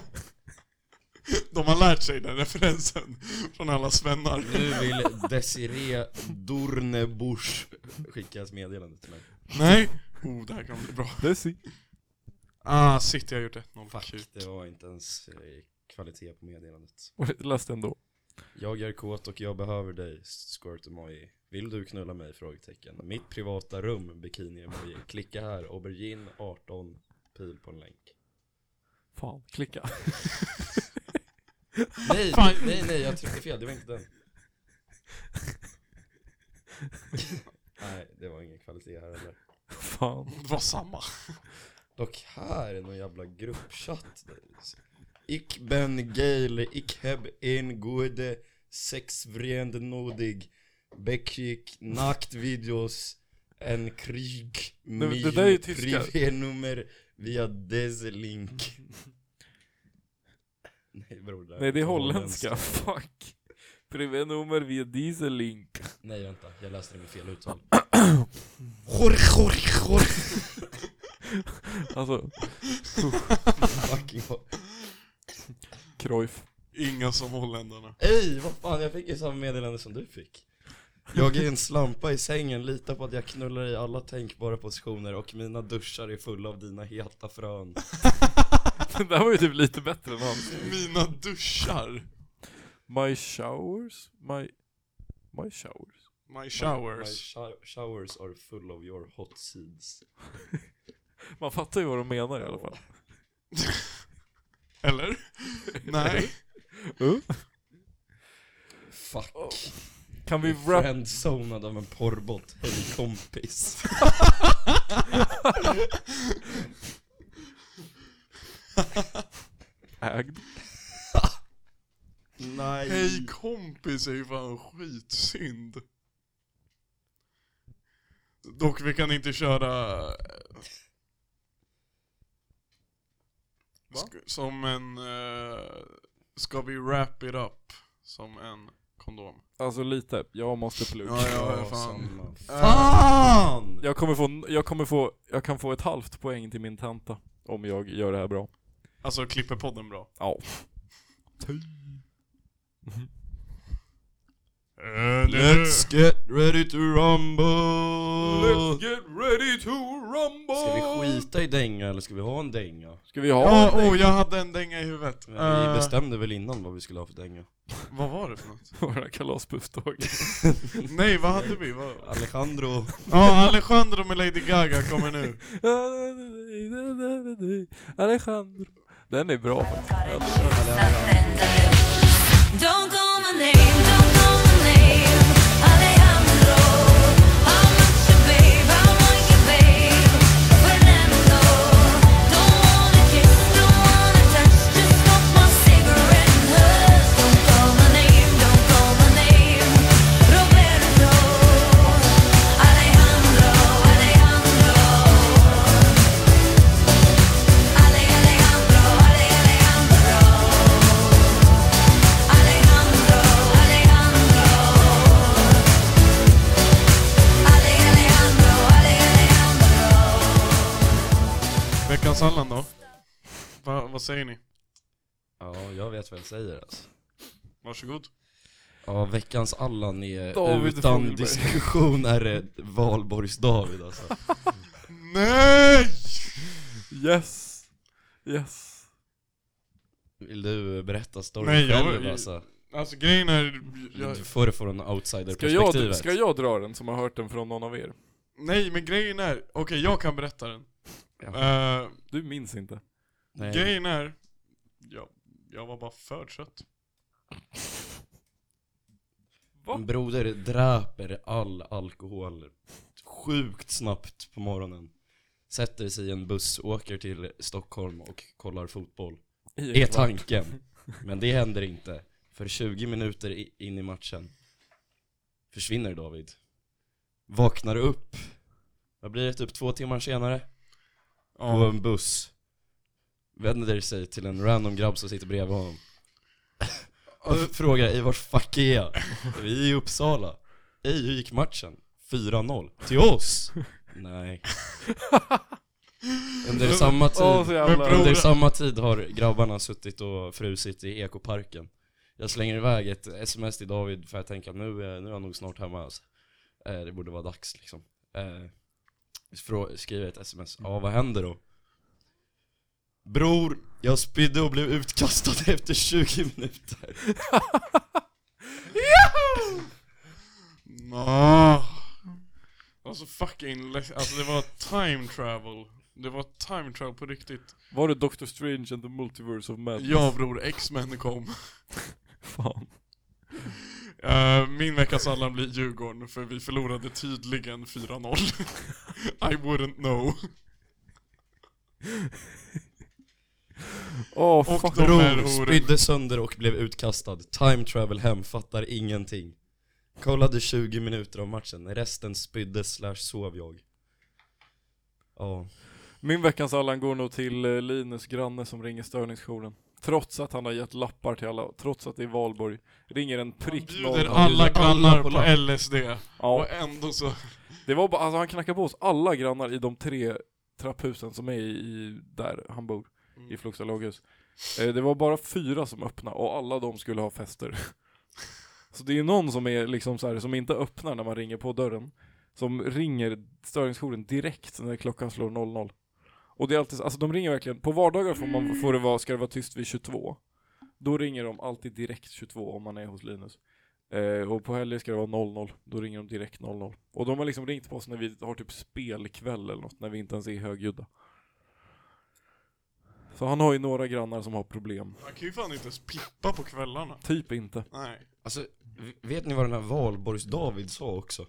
De har lärt sig den referensen från alla svennar. Nu vill Desiree Dornebusch skicka ett meddelande till mig. Nej. Oh, det här kan bli bra. Desi. Ah, City har gjort 1-0. Kul. Fuck, det var inte ens eh, kvalitet på meddelandet. Läste ändå. Jag är kåt och jag behöver dig, squirt emoji. Vill du knulla mig? Frågetecken. Mitt privata rum, bikini emoji. Klicka här, aubergine 18, pil på en länk. Fan, klicka. Nej, Fan. nej, nej, jag tryckte fel, det var inte den. nej, det var ingen kvalitet här heller. Fan. Det var samma. Dock här är någon jävla gruppchatt där. Ich ben geil, ich heb en gode sexvriende nodig Bekik naktvideos en krig Men det där är ju tyska. privenummer via deze link Nej bror, där Nej, det är holländska. Fuck. Privenummer via diesellink. Nej vänta, jag läste det med fel uttal Alltså, Fucking Cruyff. Inga som holländarna. Ey, vad fan, jag fick ju samma meddelande som du fick. Jag är en slampa i sängen, lita på att jag knullar i alla tänkbara positioner och mina duschar är fulla av dina heta frön. Den där var ju typ lite bättre än hans. Mina duschar. My showers? My... My showers? My My showers. sho- showers are full of your hot seeds. Man fattar ju vad de menar i alla fall. Eller? Nej. Fuck. Oh. Kan vi wrap... Friendzonad av en porrbot. Hej kompis. Ägd? Nej. Hej kompis är ju fan skitsynd. Dock, vi kan inte köra... eh, Sk- som en... eh, ska vi wrap it up? Som en kondom. Alltså lite. Jag måste plugga. Ja, ja, Ja, fan. samma. Eh, Fan! Jag kommer få... Jag kommer få... Jag kan få ett halvt poäng till min tenta. Om jag gör det här bra. alltså, klipper podden bra? Ja. Let's get ready to rumble! get ready to rumble! Ska vi skita i dänga eller ska vi ha en dänga? Ska vi ha? Ja, oh, jag hade en dänga i huvudet. Vi Eh, bestämde väl innan vad vi skulle ha för dänga? vad var det för något? Våra kalaspuffdagar. Nej, vad hade vi? Vad- Ja, Alejandro. Alejandro med Lady Gaga kommer nu. Alejandro. Den är bra Don't call my name, don't call my name, Alejandro. I want you, babe, I want you, babe, Fernando. Don't wanna kiss, don't wanna touch, just smoke my cigarette and hush. Don't call my name, don't call my name, Roberto. Alejandro, Alejandro. Ale, Alejandro, Ale, Alejandro. Alejandro, Alejandro Ale, Alejandro, Ale, Alejandro Veckans Allan då? Va, vad säger ni? Ja, jag vet vad jag säger alltså. Varsågod. Ja, veckans Allan är David utan Fogelberg. diskussion är det Valborgs-David alltså. Nej! Yes! Yes. Vill du berätta storyn Nej, jag- själv alltså? Alltså grejen är... Jag, Du får det från Ska jag, outsider-perspektivet. ska jag dra den som har hört den från någon av er? nej, men grejen är... Okej, jag kan berätta den. Eh, Du minns inte. Nej, grejen är... Jag, jag var bara för trött. Va? min broder dräper all alkohol sjukt snabbt på morgonen. Sätter sig i en buss, åker till Stockholm och kollar fotboll. I Är en kvart. tanken. Men det händer inte. För 20 minuter i- in i matchen försvinner David. Vaknar upp. Vad blir det? Typ två timmar senare? På Ja. en buss. Vänder sig till en random grabb som sitter bredvid honom. Och frågar i vart fuck är jag? Vi är i Uppsala. Ej, hur gick matchen? 4-0. Till oss? Nej. Under samma tid Åh, så jävla... Men under Broder. samma tid har grabbarna suttit och frusit i ekoparken. Jag slänger iväg ett sms till David för jag tänker att nu, är- nu är han nog snart hemma alltså. eh, Det borde vara dags liksom. Eh, frå- skriver ett sms. Ja, vad händer då? Bror, jag spydde och blev utkastad efter 20 minuter. Ah. Alltså fucking less- Alltså det var time travel. Det var time travel på riktigt. Var det Doctor Strange and the Multiverse of Madness? Jag bror, X-Men kom. Fan. Eh, min veckas Allan blir Djurgården för vi förlorade tydligen 4-0. I wouldn't know. Åh Och fuck. de här Bror hororna. spydde sönder och blev utkastad. Time travel hem, fattar ingenting. Kollade 20 minuter av matchen, resten spydde slash sov jag. Ja. Min veckans Allan går nog till eh, Linus granne som ringer störningsjouren. Trots att han har gett lappar till alla, trots att det är valborg. Ringer en prick Bjuder noll- alla grannar på, på lapp. LSD. Ja, Och ändå så... det var bara, alltså han knackade på oss alla grannar i de tre trapphusen som är i, i där han bor. I Fluxalogus. Eh, Det var bara fyra som öppnade och alla de skulle ha fester. Så det är någon som är liksom så här, som inte öppnar när man ringer på dörren. Som ringer störningsjouren direkt när klockan slår 00. Och det är alltid, alltså de ringer verkligen, på vardagar får, man, får det vara, ska det vara tyst vid 22. Då ringer de alltid direkt 22 om man är hos Linus. Eh, och på helger ska det vara 00, då ringer de direkt 00. Och de har liksom ringt på oss när vi har typ spelkväll eller något, när vi inte ens är högljudda. Så han har ju några grannar som har problem. Man kan ju fan inte ens pippa på kvällarna. Typ inte. Nej. Alltså, v- vet ni vad den här valborgs-David sa också?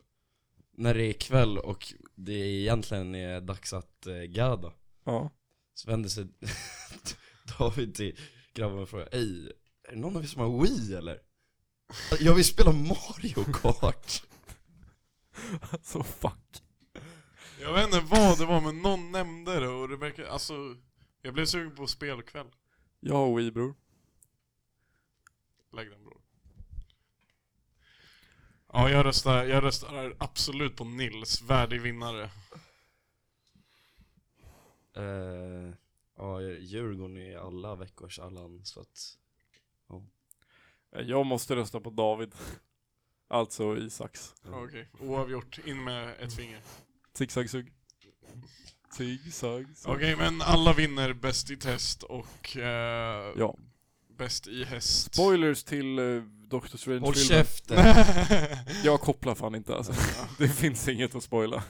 När det är kväll och det egentligen är dags att eh, gadda Ja. Så vänder sig David till grabben och frågar Ej, är det någon av er som har Wii eller? Jag vill spela Mario Kart! Så fuck. Jag vet inte vad det var men någon nämnde det och det verkar... Alltså... Jag blev sugen på spelkväll. Jag och Wii bror. Lägg den bror. Ja, jag röstar, jag röstar absolut på Nils, värdig vinnare. Eh, ja, Djurgården är alla veckors Allan så att Eh, Jag måste rösta på David. Alltså Isaks. Ja, Okej, oavgjort. In med ett finger. Zigzag-sugg. Zigzag-sugg. Okej, men alla vinner bäst i test och eh, Ja. bäst i häst. Spoilers till uh, Doctor Håll Strange-filmen. käften! Jag kopplar fan inte alltså. Det finns inget att spoila.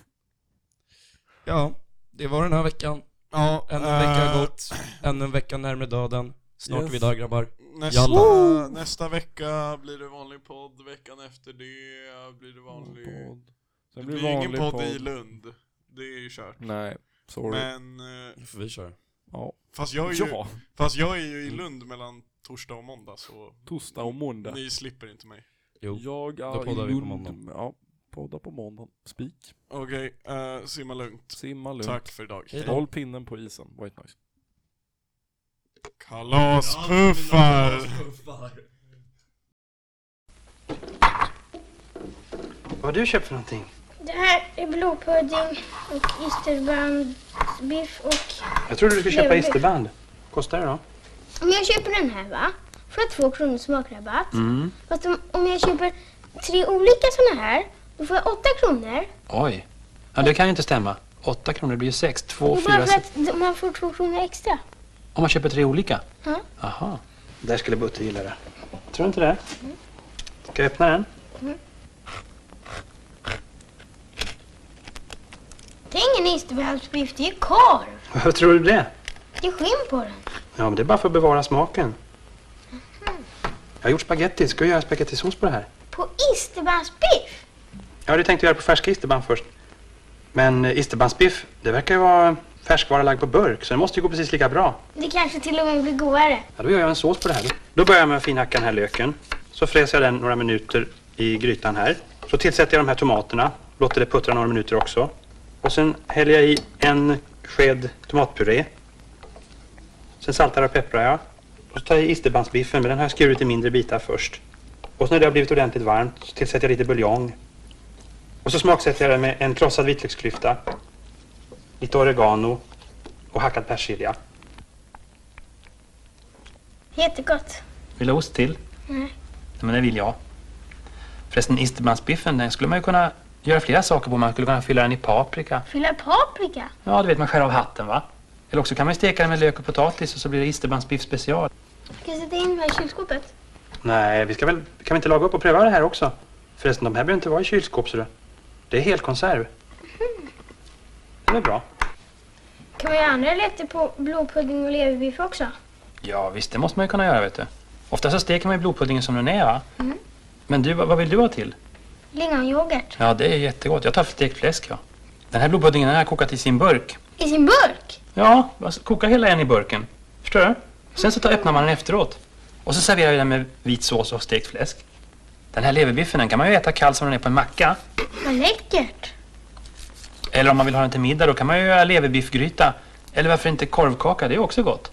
Ja, det var den här veckan. ja, Ännu eh, en vecka har gått, ännu en vecka närmare döden. Snart är vi Yes. där grabbar. Nästa, Jalla. nästa vecka blir det vanlig podd, veckan efter det blir det vanlig... Sen det blir blir det ingen vanlig podd, podd. i Lund. Det är ju kört. Nej, sorry. Men, eh, Nu får vi köra. Ja. fast, jag är ju, ja, fast jag är ju i Lund mellan torsdag och måndag så torsdag och måndag. ni slipper inte mig. Jo. Jag är Då poddar i vi på Lund. måndag. Ja, poddar på måndag. Spik, Okej, eh, simma lugnt. simma lugnt. Tack för idag. Hej då. Håll pinnen på isen, white noise. Kalaspuffar! Vad har du köpt för någonting? Det här är blodpudding och isterbandsbiff och... Jag trodde du skulle köpa Leverbiff. isterband. Kostar det då? Om jag köper den här va, får jag två kronor smakrabatt. Fast om, om jag köper tre olika såna här, då får jag åtta kronor. Oj. Ja, det kan ju inte stämma. 8 kronor blir ju 6. 2, Och 4, bara för 6. att d- man får två kronor extra. Om man köper tre olika? Ja. Aha. Där skulle Butte gilla det. Tror du inte det? Ska jag öppna den? Det är ingen isterbandsbiff, det är korv. Vad tror du det? Det är skinn på den. Ja, men det är bara för att bevara smaken. Mhm. Jag har gjort spaghetti. Ska jag göra spagettisås på det här? På isterbandsbiff? Ja, det tänkte jag göra på färska isterband först. Men eh, isterbandsbiff, det verkar ju vara färskvara lagd på burk, så det måste ju gå precis lika bra. Det kanske till och med blir godare. Ja, då gör jag en sås på det här. Då, då börjar jag med att finhacka den här löken. Så fräser jag den några minuter i grytan här. Så tillsätter jag de här tomaterna, låter det puttra några minuter också. Och sen häller jag i en sked tomatpuré. Sen saltar och pepprar jag. Och så tar jag i isterbandsbiffen, men den har jag skurit i mindre bitar först. Och sen när det har blivit ordentligt varmt så tillsätter jag lite buljong. Och så smaksätter jag det med en krossad vitlöksklyfta, lite oregano och hackad persilja. Jättegott. Vill du ha ost till? Nej. Men det vill jag. Förresten, isterbandsbiffen, den skulle man ju kunna göra flera saker på. Man skulle kunna fylla den i paprika. Fylla paprika? Ja, du vet, man skär av hatten, va? Eller också kan man ju steka den med lök och potatis och så blir det isterbandsbiff special. Ska jag sätta in dem här i kylskåpet? Nej, vi ska väl, kan vi inte laga upp och pröva det här också? Förresten, de här behöver inte vara i kylskåp, så du. Det är helkonserv. Det är väl bra? Kan man göra andra rätter på blodpudding och leverbiff också? Ja, visst, det måste man ju kunna göra, vet du. Ofta så steker man ju blodpuddingen som den är, va? Men du, vad vad vill du ha till? Lingonyoghurt. Ja, det är jättegott. Jag tar stekt fläsk, ja. Den här blodpuddingen den har jag kokat i sin burk. I sin burk? Ja, alltså, koka hela en i burken. Förstår du? Sen så tar, öppnar man den efteråt. Och så serverar vi den med vit sås och stekt fläsk. Den här leverbiffen den kan man ju äta kall som den är på en macka. Vad läckert. Eller om man vill ha den till middag då kan man ju göra leverbiffgryta. Eller varför inte korvkaka, det är också gott.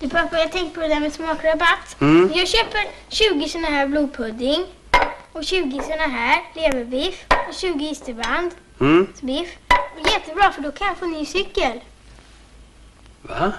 Du pappa, jag tänkte på det där med smakrabatt. Jag köper 20 såna här blodpudding och 20 såna här leverbiff och 20 isterband. Mm. Biff. Jättebra för då kan jag få en ny cykel. Va?